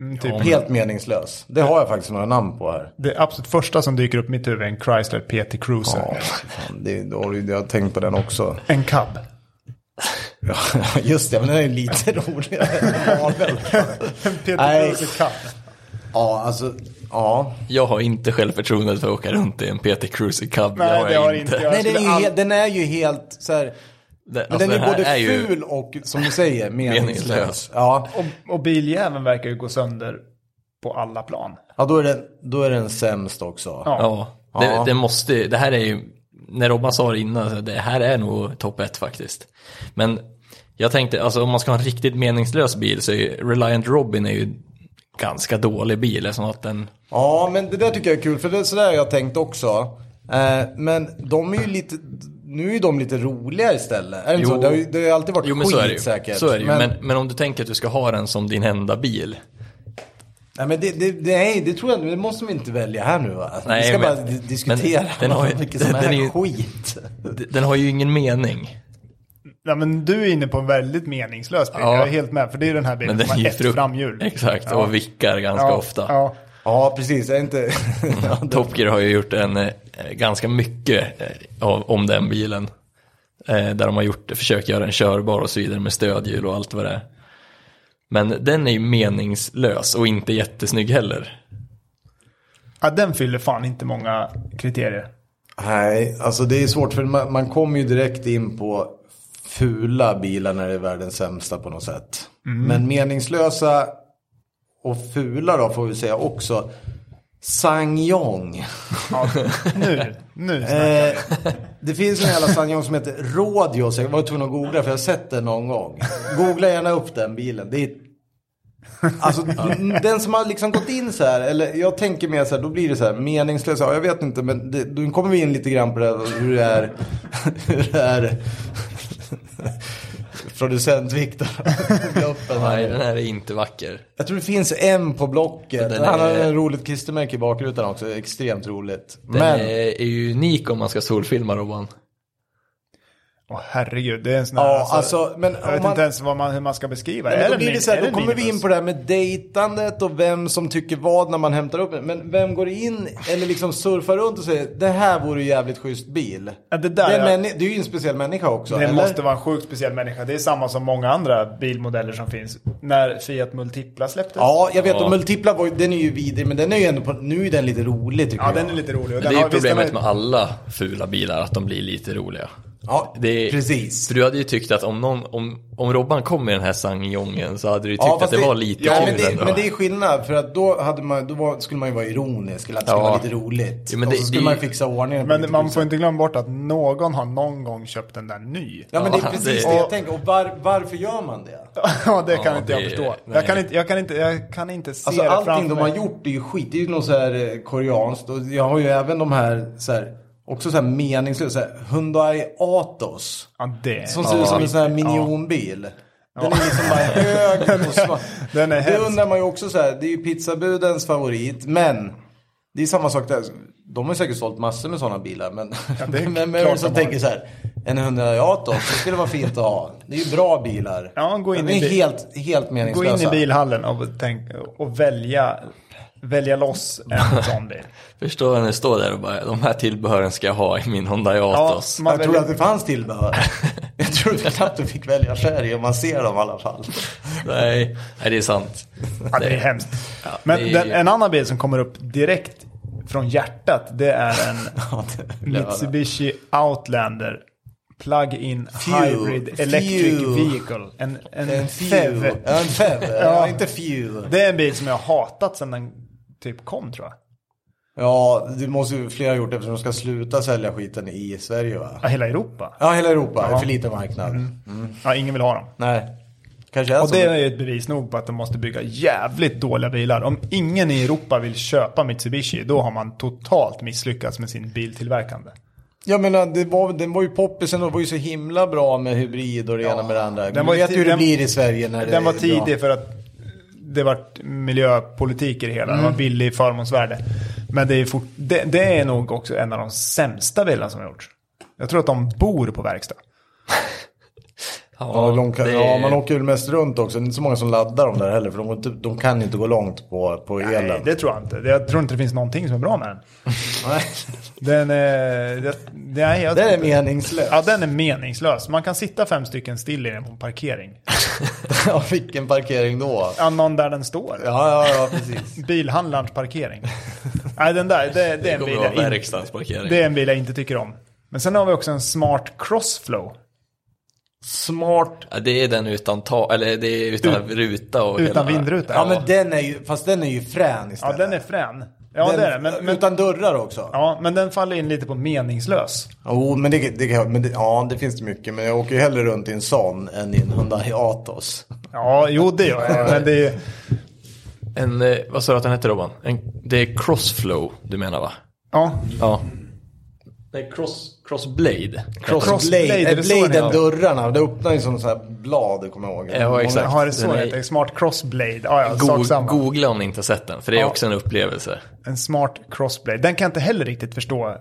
Speaker 2: Mm, typ.
Speaker 3: Helt meningslös. Det har jag faktiskt några namn på här.
Speaker 2: Det absolut första som dyker upp i mitt huvud är en Chrysler PT Cruiser.
Speaker 3: Ja, fan, det, då har du- jag har tänkt på den också.
Speaker 2: En cab.
Speaker 3: Ja, Just det, men den är ju lite roligare än Marvel.
Speaker 2: En PT
Speaker 3: Nej.
Speaker 2: Cruiser cab.
Speaker 3: Ja, alltså, ja.
Speaker 1: Jag har inte självförtroendet för att åka runt i en PT Cruiser Cub.
Speaker 2: Nej, det har inte jag.
Speaker 3: Nej, den är ju,
Speaker 2: skulle all-
Speaker 3: helt, den är ju helt så här.
Speaker 1: Det,
Speaker 3: Men
Speaker 1: alltså,
Speaker 3: den är
Speaker 1: här
Speaker 3: både
Speaker 1: ju-
Speaker 3: ful och, som du säger, meningslös.
Speaker 1: Meningslös.
Speaker 3: Ja,
Speaker 2: Och, och biljäveln verkar ju gå sönder på alla plan.
Speaker 3: ja då, är den, då är den sämst också.
Speaker 2: Ja.
Speaker 1: Ja, det,
Speaker 3: Ja.
Speaker 1: det måste, det här är ju, när Robban sa det innan, så det här är nog topp ett faktiskt. Men jag tänkte, alltså om man ska ha en riktigt meningslös bil så är ju Reliant Robin är ju ganska dålig bil, eftersom att den,
Speaker 3: Ja, men det där tycker jag är kul, för det är sådär har jag tänkt också. Eh, men de är ju lite, nu är ju de lite roliga istället. Är det, inte så?
Speaker 1: Jo.
Speaker 3: det har ju det har ju alltid varit
Speaker 1: jo men
Speaker 3: skit
Speaker 1: så är det ju.
Speaker 3: säkert.
Speaker 1: Så är det ju.
Speaker 3: Men,
Speaker 1: Men, men, om du tänker att du ska ha den som din enda bil,
Speaker 3: nej, men det, det, det, nej, det tror jag det måste vi inte välja här nu va?
Speaker 1: Nej,
Speaker 3: vi ska
Speaker 1: men-
Speaker 3: bara di- diskutera
Speaker 1: men den har ju-
Speaker 3: vilket som
Speaker 1: den-
Speaker 3: är
Speaker 1: den är ju-
Speaker 3: skit.
Speaker 1: d- den har ju ingen mening.
Speaker 2: Ja, men du är inne på en väldigt meningslös bil.
Speaker 1: Ja.
Speaker 2: Jag är helt med. För det är ju den här
Speaker 1: Men
Speaker 2: bilen
Speaker 1: den
Speaker 2: som har
Speaker 1: ju
Speaker 2: ett
Speaker 1: frukt-
Speaker 2: framhjul.
Speaker 1: Exakt,
Speaker 2: Ja.
Speaker 1: och vickar ganska
Speaker 2: Ja,
Speaker 1: ofta.
Speaker 2: Ja.
Speaker 3: Ja, precis. Är inte... ja, det-
Speaker 1: Top Gear har ju gjort en, eh, ganska mycket eh, av, om den bilen. Eh, där de har gjort, försökt göra den körbar och så vidare med stödhjul och allt vad det är. Men den är ju meningslös och inte jättesnygg heller.
Speaker 2: ja, den fyller fan inte många kriterier.
Speaker 3: Nej, alltså det är svårt för man, man kommer ju direkt in på fula bilar när det är världens sämsta på något sätt. Men meningslösa och fula då får vi säga också. Sangyong.
Speaker 2: Ja, nu, nu snackar vi.
Speaker 3: Eh, det finns en jävla Sangyong som heter Rodios. Jag var tvungen att googla för jag har sett den någon gång. Googla gärna upp den bilen. Det är Alltså den som har liksom gått in så här, eller jag tänker mer så här, då blir det så här meningslöst. Ja, jag vet inte, men det, då kommer vi in lite grann på det här, hur det är, hur det är. Producent Viktor. Gruppen här.
Speaker 1: Nej, den här är inte vacker.
Speaker 3: Jag tror det finns en på Blocket.
Speaker 1: Den
Speaker 3: Han har
Speaker 1: är-
Speaker 3: en roligt klistermärke i bakrutan också. Extremt roligt.
Speaker 1: Den
Speaker 3: men
Speaker 1: är, är ju unik om man ska solfilma Robban.
Speaker 2: Åh herregud, det är en sån här...
Speaker 3: Ja, alltså, men om
Speaker 2: jag vet
Speaker 3: man-
Speaker 2: inte ens vad man, hur man ska beskriva
Speaker 3: Men
Speaker 2: Är
Speaker 3: då,
Speaker 2: det
Speaker 3: blir det
Speaker 2: min-
Speaker 3: så
Speaker 2: är
Speaker 3: här,
Speaker 2: det
Speaker 3: då kommer vi
Speaker 2: minibus?
Speaker 3: in på det här med dejtandet och vem som tycker vad när man hämtar upp en. Men vem går in eller liksom surfar runt och säger det här vore ju jävligt schysst bil.
Speaker 2: Ja, det där
Speaker 3: det, är
Speaker 2: är-
Speaker 3: männi- det är ju en speciell människa också.
Speaker 2: Det
Speaker 3: eller?
Speaker 2: måste vara en sjukt speciell människa. Det är samma som många andra bilmodeller som finns. När Fiat Multipla släpptes.
Speaker 3: Ja, jag vet.
Speaker 1: Ja.
Speaker 3: Och Multipla var, ju- den är ju vidrig men den är ju ändå på, nu är den lite rolig tycker
Speaker 2: Ja,
Speaker 3: jag.
Speaker 2: den är lite rolig. Och
Speaker 1: Men
Speaker 2: den
Speaker 1: det är
Speaker 2: har-
Speaker 1: ju
Speaker 2: visst, den
Speaker 1: problemet
Speaker 2: har-
Speaker 1: med alla fula bilar, att de blir lite roliga.
Speaker 3: Ja,
Speaker 1: Det-
Speaker 3: precis.
Speaker 1: För du hade ju tyckt att om, någon, om, om Robban kom med den här sangjongen så hade du tyckt
Speaker 3: Ja,
Speaker 1: att
Speaker 3: fast
Speaker 1: det, var lite
Speaker 3: ja, men,
Speaker 1: kul
Speaker 3: det,
Speaker 1: ändå.
Speaker 3: men det är skillnad för att då, hade man, då var, skulle man ju vara ironisk eller att det skulle
Speaker 1: Ja.
Speaker 3: vara lite roligt.
Speaker 1: Jo, men
Speaker 3: och
Speaker 1: det-
Speaker 3: så skulle
Speaker 1: det-
Speaker 3: man fixa ordningen. på lite
Speaker 2: Men man
Speaker 3: schysst.
Speaker 2: får inte glömma bort att någon har någon gång köpt den där ny.
Speaker 3: Ja men det är
Speaker 1: Ja,
Speaker 3: precis
Speaker 1: det-
Speaker 3: det jag tänker. Och var, varför gör man det?
Speaker 2: Ja, det kan
Speaker 1: Ja,
Speaker 2: inte
Speaker 1: det-
Speaker 2: jag förstå.
Speaker 1: nej.
Speaker 2: Jag kan inte, jag, kan inte, jag kan inte se
Speaker 3: Alltså
Speaker 2: det
Speaker 3: allting
Speaker 2: framför
Speaker 3: de har
Speaker 2: mig.
Speaker 3: gjort är ju skit. Det är ju något så här eh, koreanskt. Och jag har ju även de här, så här också så här meningslösa. Så här, Hyundai Atos.
Speaker 2: Ja, det.
Speaker 3: Som ser ut som en sån här minionbil. Den är liksom bara hög och svart.
Speaker 2: Den är
Speaker 3: det
Speaker 2: hemsk.
Speaker 3: undrar man ju också så här. Det är ju pizzabudens favorit. Men det är samma sak där. De har ju säkert sålt massor med sådana bilar. Men
Speaker 2: det är
Speaker 3: men
Speaker 2: klart
Speaker 3: men som
Speaker 2: de har.
Speaker 3: tänker så här. En Hyundai Atos, det skulle vara fint att ha. Det är ju bra bilar.
Speaker 2: Ja, gå in
Speaker 3: de är
Speaker 2: i bil-
Speaker 3: helt, helt
Speaker 2: Gå
Speaker 3: meningslösa.
Speaker 2: in i bilhallen och, tänk, och välja, välja loss en sån bil.
Speaker 1: Förstår när du står där och bara, de här tillbehören ska jag ha i min Honda
Speaker 2: Ja,
Speaker 1: Atos.
Speaker 2: man
Speaker 3: jag tror
Speaker 2: väljer-
Speaker 3: att det fanns tillbehör. jag trodde knappt du fick välja färg om man ser dem i alla fall.
Speaker 1: Nej, nej, det är sant.
Speaker 2: Ja, det är hemskt.
Speaker 1: Ja,
Speaker 2: Men
Speaker 1: det är-
Speaker 2: den, en annan bil som kommer upp direkt från hjärtat, det är en
Speaker 3: Ja, det vill jag höra.
Speaker 2: Mitsubishi Outlander Plug-in
Speaker 3: Few.
Speaker 2: Hybrid Electric
Speaker 3: Few.
Speaker 2: Vehicle. En, en,
Speaker 3: En few.
Speaker 2: FEV.
Speaker 3: Ja, En fev.
Speaker 2: Ja.
Speaker 3: ja. Inte few.
Speaker 2: Det är en bil som jag har hatat sedan den typ kom tror jag.
Speaker 3: Ja, det måste ju flera ha gjort eftersom de ska sluta sälja skiten i Sverige va?
Speaker 2: Ja, hela Europa.
Speaker 3: Ja, hela Europa. För liten marknad.
Speaker 2: Ja, ingen vill ha dem.
Speaker 3: Nej. Kanske är
Speaker 2: Mm. Och
Speaker 3: så.
Speaker 2: det är ju ett bevis nog på att de måste bygga jävligt dåliga bilar. Om ingen i Europa vill köpa Mitsubishi, då har man totalt misslyckats med sin biltillverkande.
Speaker 3: Jag menar, äh, det var, den var ju poppisen och det var ju så himla bra med hybrid och det ena med det andra.
Speaker 2: Den
Speaker 3: Den
Speaker 2: var
Speaker 3: var
Speaker 2: ju
Speaker 3: vet ju hur
Speaker 2: ti-
Speaker 3: det
Speaker 2: den-
Speaker 3: blir i Sverige när det
Speaker 2: Den var
Speaker 3: är bra.
Speaker 2: tidig för att det var miljöpolitik i det hela.
Speaker 3: Mm.
Speaker 2: Den var billig i förmånsvärde. Men det är, fort, det, det är nog också en av de sämsta bilarna som har gjorts. Jag tror att de bor på verkstad.
Speaker 3: Ja, lång,
Speaker 1: det-
Speaker 3: ja, man åker väl mest runt också. Det är inte så många som laddar dem där heller. För de, går inte- de kan inte gå långt på, på elen.
Speaker 2: Nej, det tror jag inte. Jag tror inte det finns någonting som är bra med den.
Speaker 3: Nej.
Speaker 2: Den är... Det, det, nej, jag,
Speaker 3: Det är meningslöst.
Speaker 2: Ja, den är meningslös. Man kan sitta fem stycken still i den på en parkering.
Speaker 3: Ja, vilken parkering då? Ja,
Speaker 2: Ja, Någon där den står.
Speaker 3: ja, ja, precis.
Speaker 2: Bilhandlarns parkering. Nej, den där, det, det är
Speaker 1: Det
Speaker 2: en bil
Speaker 1: kommer vara
Speaker 2: jag inte
Speaker 1: verkstadsparkering.
Speaker 2: Det är en bil jag inte tycker om. Men sen har vi också en smart crossflow.
Speaker 3: Smart.
Speaker 1: Ja, det är den utan ta, eller det är utan ruta och
Speaker 2: Utan
Speaker 1: hela...
Speaker 2: vindruta.
Speaker 3: Ja, men den är ju, fast den är ju frän
Speaker 2: Ja,
Speaker 3: istället.
Speaker 2: den är frän. Ja, det är den. Men, men,
Speaker 3: Utan dörrar också.
Speaker 2: ja, men den faller in lite på meningslös.
Speaker 3: Jo, men, det, det, kan- men det, ja, det finns det mycket. Men jag åker ju hellre runt i en sån än i en Hyundai Atos.
Speaker 2: Ja, jo det gör jag. Men det är ju...
Speaker 1: En, eh, vad sa du att den hette Robban? En, det är crossflow du menar va?
Speaker 2: Ja,
Speaker 1: Ja. Nej, cross, crossblade.
Speaker 2: Crossblade,
Speaker 3: Crossblade,
Speaker 2: är
Speaker 3: är
Speaker 2: det så den
Speaker 3: bladen
Speaker 2: heter?
Speaker 3: dörrarna. Det öppnar ju som så här blad, kommer jag ihåg.
Speaker 1: Ja, exakt.
Speaker 2: har det så
Speaker 1: Den är-
Speaker 2: heter. Smart crossblade. Ja, ja, sak
Speaker 1: Go-
Speaker 2: samma.
Speaker 1: googla om ni inte har sett den, för det är
Speaker 2: Ja.
Speaker 1: också en upplevelse.
Speaker 2: En smart crossblade. Den kan jag inte heller riktigt förstå.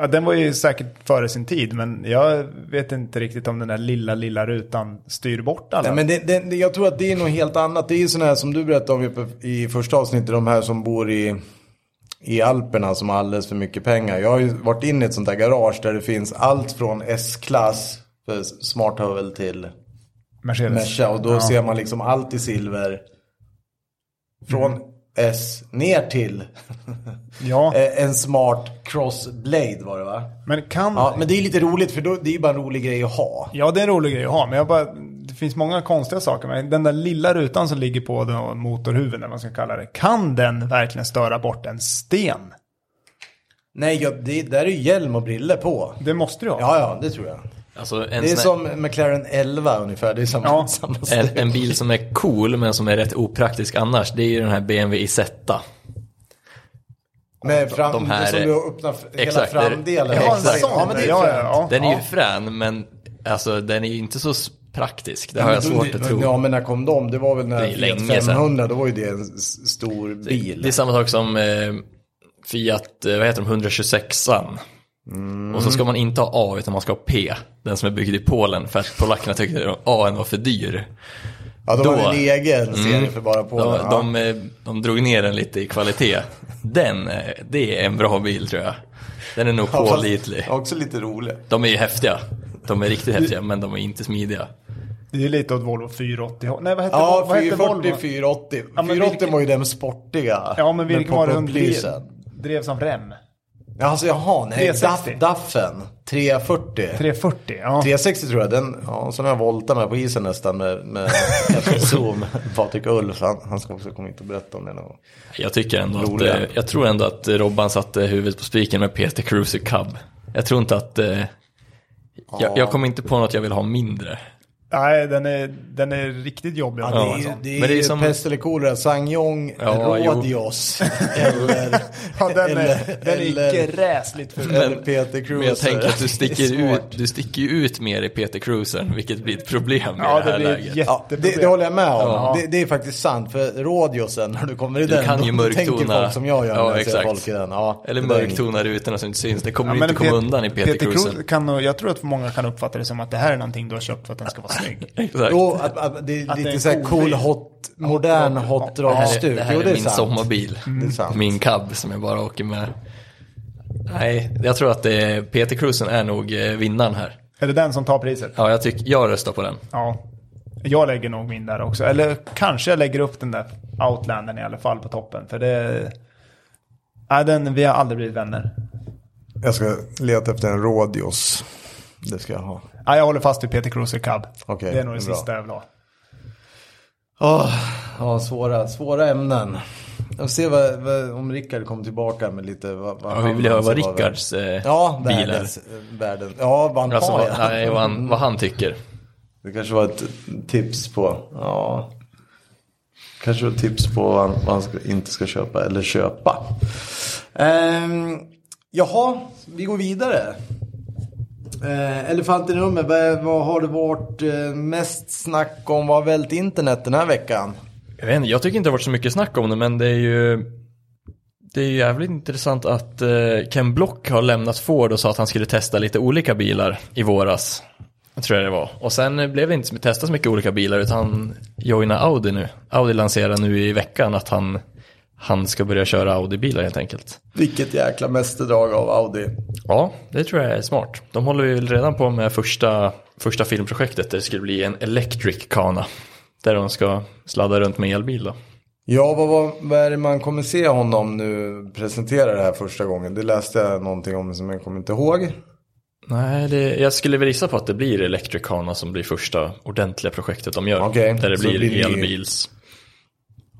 Speaker 2: Ja, den var ju säkert före sin tid, men jag vet inte riktigt om den där lilla, lilla rutan styr bort alla.
Speaker 3: Nej, men det, det, det- jag tror att det är något helt annat. Det är ju sådana här som du berättade om i, i första avsnittet. De här som bor i, i Alperna som har alldeles för mycket pengar. Jag har ju varit inne i ett sånt där garage där det finns allt från S-klass, för smart hör väl till
Speaker 2: Mercedes.
Speaker 3: Merca. Och då ser man liksom allt i silver. Från S ner till
Speaker 2: Ja,
Speaker 3: eh, en smart crossblade var det va?
Speaker 2: men kan...
Speaker 3: Ja, men det är lite roligt för då, det är ju bara en rolig grej att ha.
Speaker 2: Ja, det är en rolig grej att ha, men jag bara, det finns många konstiga saker. Men den där lilla rutan som ligger på den- motorhuven, eller vad man ska kalla det, kan den verkligen störa bort en sten?
Speaker 3: Nej, ja, det, där är ju hjälm och briller på.
Speaker 2: Det måste du ha.
Speaker 3: Ja, ja, det tror jag.
Speaker 1: Alltså en,
Speaker 3: Det är
Speaker 1: sån-
Speaker 3: som McLaren 11 ungefär. Det är samma,
Speaker 2: Ja.
Speaker 3: samma sak.
Speaker 1: en, en bil som är cool men som är rätt opraktisk annars, det är ju den här BMW Isetta.
Speaker 3: Med fram,
Speaker 1: de här-
Speaker 3: som du öppnar f- hela
Speaker 1: Exakt, det är-
Speaker 3: framdelen.
Speaker 1: Ja,
Speaker 2: Jag har en
Speaker 1: exakt.
Speaker 2: sån.
Speaker 3: Ja, men det är
Speaker 2: ja,
Speaker 3: fränt.
Speaker 2: ja, ja.
Speaker 1: Den är
Speaker 2: ja.
Speaker 1: ju frän, men alltså, den är ju inte så s- praktisk. Det har
Speaker 3: Men
Speaker 1: jag
Speaker 3: då-
Speaker 1: svårt att tro.
Speaker 3: Ja, men när kom de? Det var väl
Speaker 1: Det
Speaker 3: när
Speaker 1: är länge
Speaker 3: Fiat
Speaker 1: sedan.
Speaker 3: 500, då var ju det en s- stor bil.
Speaker 1: Det är samma sak som eh, Fiat, eh, vad heter de, 126an.
Speaker 3: Mm.
Speaker 1: Och så ska man inte ha A utan man ska ha P, den som är byggd i Polen för att polackerna tyckte att A var för dyr.
Speaker 3: Ja, de
Speaker 1: Då- Mm.
Speaker 3: hade en egen serie för bara på
Speaker 1: De, de, eh, de drog ner den lite i kvalitet. Den, eh, det är en bra bil tror jag. Den är nog pålitlig.
Speaker 3: Också lite rolig.
Speaker 1: De är ju häftiga. De är riktigt häftiga men de är inte smidiga.
Speaker 2: Det är lite åt Volvo 480 håll. Nej, vad hette,
Speaker 3: Ja,
Speaker 2: vad hette
Speaker 3: 440,
Speaker 2: Volvo?
Speaker 3: 480.
Speaker 2: Ja, men
Speaker 3: 480
Speaker 2: vilken-
Speaker 3: var ju den sportiga.
Speaker 2: Ja, men vilken var det som drev,
Speaker 3: poplisen?
Speaker 2: drev som rem?
Speaker 3: Ja, Alltså jaha, nej.
Speaker 2: 360.
Speaker 3: Daff, Daffen. 340.
Speaker 2: 340, ja.
Speaker 3: 360 tror jag. Den, ja, sen har jag voltat med på isen nästan med, med efter Zoom. Patrik Ulf, han, han ska också komma hit och berätta om det någon gång.
Speaker 1: Jag tycker ändå att,
Speaker 3: Roliga.
Speaker 1: eh, jag tror ändå att eh, Robban satte huvudet på spiken med Peter Cruiser Cub. Jag tror inte att, eh, jag, jag kommer inte på något jag vill ha mindre.
Speaker 2: Nej, den är, den är riktigt jobbig.
Speaker 3: Ja,
Speaker 2: att
Speaker 3: det
Speaker 2: ha alltså. en
Speaker 3: är, ju-
Speaker 2: sån.
Speaker 3: det är,
Speaker 1: Men det är
Speaker 3: ju
Speaker 1: som-
Speaker 3: pest eller kolera, Sangyong,
Speaker 1: Ja, jo.
Speaker 3: Rodios eller,
Speaker 2: Ja, den
Speaker 3: eller-
Speaker 2: är, den är
Speaker 3: eller-
Speaker 2: gräsligt ful.
Speaker 3: eller Peter Cruiser.
Speaker 1: Men jag tänker att du
Speaker 3: Det är
Speaker 1: sticker,
Speaker 3: svårt.
Speaker 1: ut, du sticker ju ut mer i Peter Cruisern, vilket blir ett problem i
Speaker 2: Ja,
Speaker 1: det
Speaker 2: det
Speaker 1: här
Speaker 2: blir ett
Speaker 1: läget.
Speaker 2: jätte-
Speaker 3: Ja, det, det håller jag med om. Det, det är faktiskt sant. För Rodiosen, när du kommer i den,
Speaker 1: kan
Speaker 3: då
Speaker 1: ju
Speaker 3: tänker
Speaker 1: mörktona.
Speaker 3: folk som jag gör
Speaker 1: Ja,
Speaker 3: när jag ser
Speaker 1: exakt.
Speaker 3: folk i den. Ja,
Speaker 1: Eller
Speaker 3: det där är
Speaker 1: mörktonar utan och som inte syns. Det kommer
Speaker 2: Ja,
Speaker 1: ju inte komma
Speaker 2: Pet-
Speaker 1: undan i Peter,
Speaker 2: Cruz
Speaker 1: Cruiser.
Speaker 2: kan nog, jag tror att många kan uppfatta det som att det här är någonting du har köpt för att den ska vara snygg.
Speaker 1: Exakt.
Speaker 3: Jo, att, att det är
Speaker 2: Att det är
Speaker 3: lite
Speaker 2: en
Speaker 3: såhär
Speaker 2: cool
Speaker 3: cool,
Speaker 2: bil.
Speaker 3: hot, modern hot
Speaker 1: det här,
Speaker 3: rod
Speaker 1: är-
Speaker 3: stuk.
Speaker 1: det här
Speaker 3: Jo,
Speaker 1: är,
Speaker 3: det är
Speaker 1: min
Speaker 3: sant. Mm.
Speaker 1: sommarbil.
Speaker 3: Det är sant.
Speaker 1: Min cab som jag bara åker med. Nej, jag tror att det är, Peter Cruisern är nog eh, vinnaren här.
Speaker 2: är det den som tar priset?
Speaker 1: Ja, jag, tycker jag röstar på den.
Speaker 2: Ja. Jag lägger nog min där också. Eller kanske jag lägger upp den där Outlandern i alla fall på toppen. För det... Nej, den, vi har aldrig blivit vänner.
Speaker 3: Jag ska leta efter en Rodios. Det ska jag ha.
Speaker 2: Nej, jag håller fast vid Peter Cruiser Cub.
Speaker 3: Okej,
Speaker 2: det är nog det
Speaker 3: bra.
Speaker 2: sista jag vill ha.
Speaker 3: Oh, ja, svåra, svåra ämnen. Jag får se vad, vad, om Rickard kommer tillbaka med lite... Vad, vad
Speaker 1: Ja, vi
Speaker 3: han
Speaker 1: vill höra vad
Speaker 3: anser vara-
Speaker 1: Rickards eh,
Speaker 3: Ja,
Speaker 1: bil är.
Speaker 3: världens, världen. Ja, vad han
Speaker 1: Alltså,
Speaker 3: har.
Speaker 1: vad,
Speaker 3: ja.
Speaker 1: nej, vad, han, vad han tycker.
Speaker 3: Det kanske var ett tips på... Ja. Kanske var ett tips på vad han, vad han ska, inte ska köpa eller köpa. Ehm, jaha, vi går vidare. Eh, elefanten i rummet, vad, vad har det varit eh, mest snack om? Vad har vält internet den här veckan?
Speaker 1: Jag, vet inte, jag tycker inte det har varit så mycket snack om det, men det är ju det är ju jävligt intressant att eh, Ken Block har lämnat Ford och sa att han skulle testa lite olika bilar i våras. Tror jag det var. Och sen eh, blev det inte så- testa så mycket olika bilar utan han joinade Audi nu. Audi lanserar nu i veckan att han, han ska börja köra Audi-bilar helt enkelt.
Speaker 3: Vilket jäkla mästerdrag av Audi.
Speaker 1: Ja, det tror jag är smart. De håller ju redan på med första, första filmprojektet där det skulle bli en electric kana. Där de ska sladda runt med elbil då.
Speaker 3: Ja, vad, vad, vad är det man kommer se honom nu presentera det här första gången? Det läste jag någonting om som jag kommer inte ihåg.
Speaker 1: Nej, det, jag skulle väl gissa på att det blir electric kana som blir första ordentliga projektet de gör.
Speaker 3: Okej,
Speaker 1: där det
Speaker 3: så
Speaker 1: blir,
Speaker 3: blir det-
Speaker 1: elbils.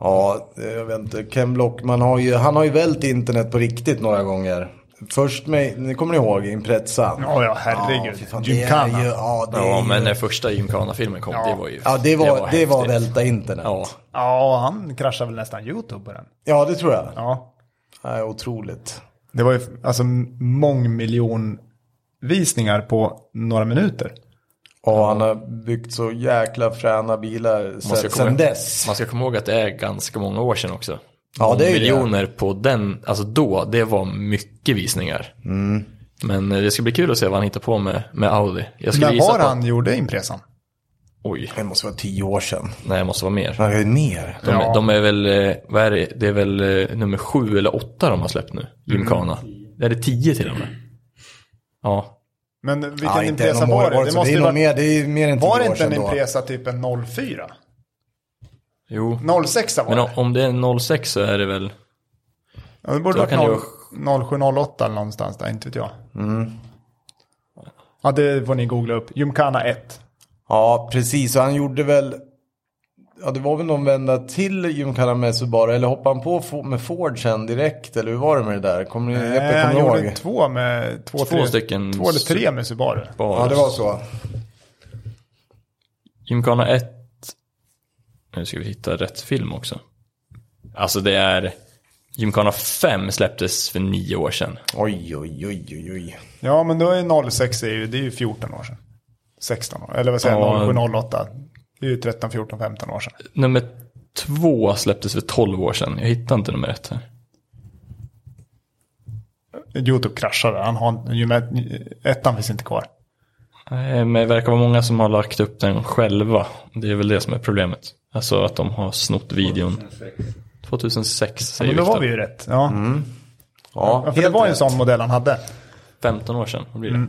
Speaker 3: Ja, jag vet inte. Ken Block, man har ju, han har ju vält internet på riktigt några gånger. Först med, ni kommer ni ihåg, Imprezza.
Speaker 2: Ja, ja,
Speaker 3: Ja, fy
Speaker 2: herregud.
Speaker 3: fan, det är
Speaker 2: Gymkhana.
Speaker 3: ju, ja, det,
Speaker 1: Ja,
Speaker 3: är ju-
Speaker 1: men när första gymkana-filmen kom, det var ju...
Speaker 3: ja, det var, det var,
Speaker 1: häftigt.
Speaker 3: välta internet. Ja.
Speaker 1: Ja,
Speaker 2: Ja, han kraschar väl nästan YouTube på den.
Speaker 3: det tror jag.
Speaker 2: Ja.
Speaker 3: Ja, otroligt.
Speaker 2: Det var ju alltså mångmiljon visningar på några minuter.
Speaker 3: Och han har byggt så jäkla fräna bilar
Speaker 1: man ska,
Speaker 3: sen,
Speaker 1: komma,
Speaker 3: sen dess.
Speaker 1: man ska komma ihåg att det är ganska många år sedan också.
Speaker 3: Ja, det är ju det.
Speaker 1: Miljoner på den, alltså då, det var mycket visningar.
Speaker 3: Mm.
Speaker 1: Men eh, det ska bli kul att se vad han hittar på med, med Audi. Jag skulle
Speaker 2: När
Speaker 1: gissa
Speaker 2: var
Speaker 1: på...
Speaker 2: han gjorde Impresan?
Speaker 1: Oj,
Speaker 3: Det måste vara tio år sedan.
Speaker 1: nej, det måste vara mer.
Speaker 3: Nej, mer.
Speaker 1: De,
Speaker 2: Ja.
Speaker 1: de är väl, eh, vad är det, det är väl eh, nummer sju eller åtta de har släppt
Speaker 3: Mm.
Speaker 1: nu, Gymkhana. Det är det tio till och med. Ja,
Speaker 2: Men vilken
Speaker 3: Ja, inte
Speaker 2: Impresa
Speaker 3: en om
Speaker 2: var
Speaker 3: året.
Speaker 2: det? Det
Speaker 3: så Det
Speaker 2: måste
Speaker 3: är
Speaker 2: ju
Speaker 3: nog
Speaker 2: varit...
Speaker 3: mer, det är mer än tio
Speaker 2: Var det
Speaker 3: år
Speaker 2: inte en
Speaker 3: sedan då.
Speaker 2: Impresa typ en 04?
Speaker 1: jo.
Speaker 2: 06 var
Speaker 1: Men
Speaker 2: det.
Speaker 1: o- om det är 06 så är det väl,
Speaker 2: Ja, det borde
Speaker 1: Då
Speaker 2: varit
Speaker 1: kan det
Speaker 2: 0708 eller någonstans där, inte vet jag. Ja, det får ni googla upp. Gymkhana 1.
Speaker 3: Ja, precis. Och han gjorde väl... Ja, det var väl någon vända till Gymkhana med Subaru. Eller hoppade han på Fo- med Ford sen direkt? Eller hur var det med det där? Kommer ni, Jeppe,
Speaker 2: Eh, han
Speaker 3: Äh, kommer ni
Speaker 2: gjorde
Speaker 3: ihåg?
Speaker 2: två med... Två,
Speaker 1: Två
Speaker 2: tre,
Speaker 1: stycken
Speaker 2: Två eller tre med Subaru.
Speaker 1: bara,
Speaker 3: Ja, det var så.
Speaker 1: Gymkhana 1, nu ska vi hitta rätt film också. Alltså det är, Gymkhana 5 släpptes för nio år sedan.
Speaker 3: Oj, oj, oj, oj, oj.
Speaker 2: Ja, men då är 06 är ju, det är ju 14 år sedan. 16 år, eller vad säger
Speaker 1: Ja.
Speaker 2: jag, 0708. Det är ju 13, 14, 15 år sedan.
Speaker 1: Nummer två släpptes för 12 år sedan, jag hittar inte nummer ett här.
Speaker 2: YouTube kraschade. Han har, ju med, ettan finns inte kvar.
Speaker 1: Nej, Eh, men det verkar vara många som har lagt upp den själva. Det är väl det som är problemet. Alltså att de har snott videon. 2006
Speaker 2: Ja,
Speaker 1: säger
Speaker 2: men då var
Speaker 1: Viktor.
Speaker 2: vi ju rätt. Ja.
Speaker 3: Ja,
Speaker 2: Ja, för det var ju en
Speaker 3: rätt.
Speaker 2: sån modell han hade.
Speaker 1: 15 år sedan. Vad blir det?
Speaker 3: Mm.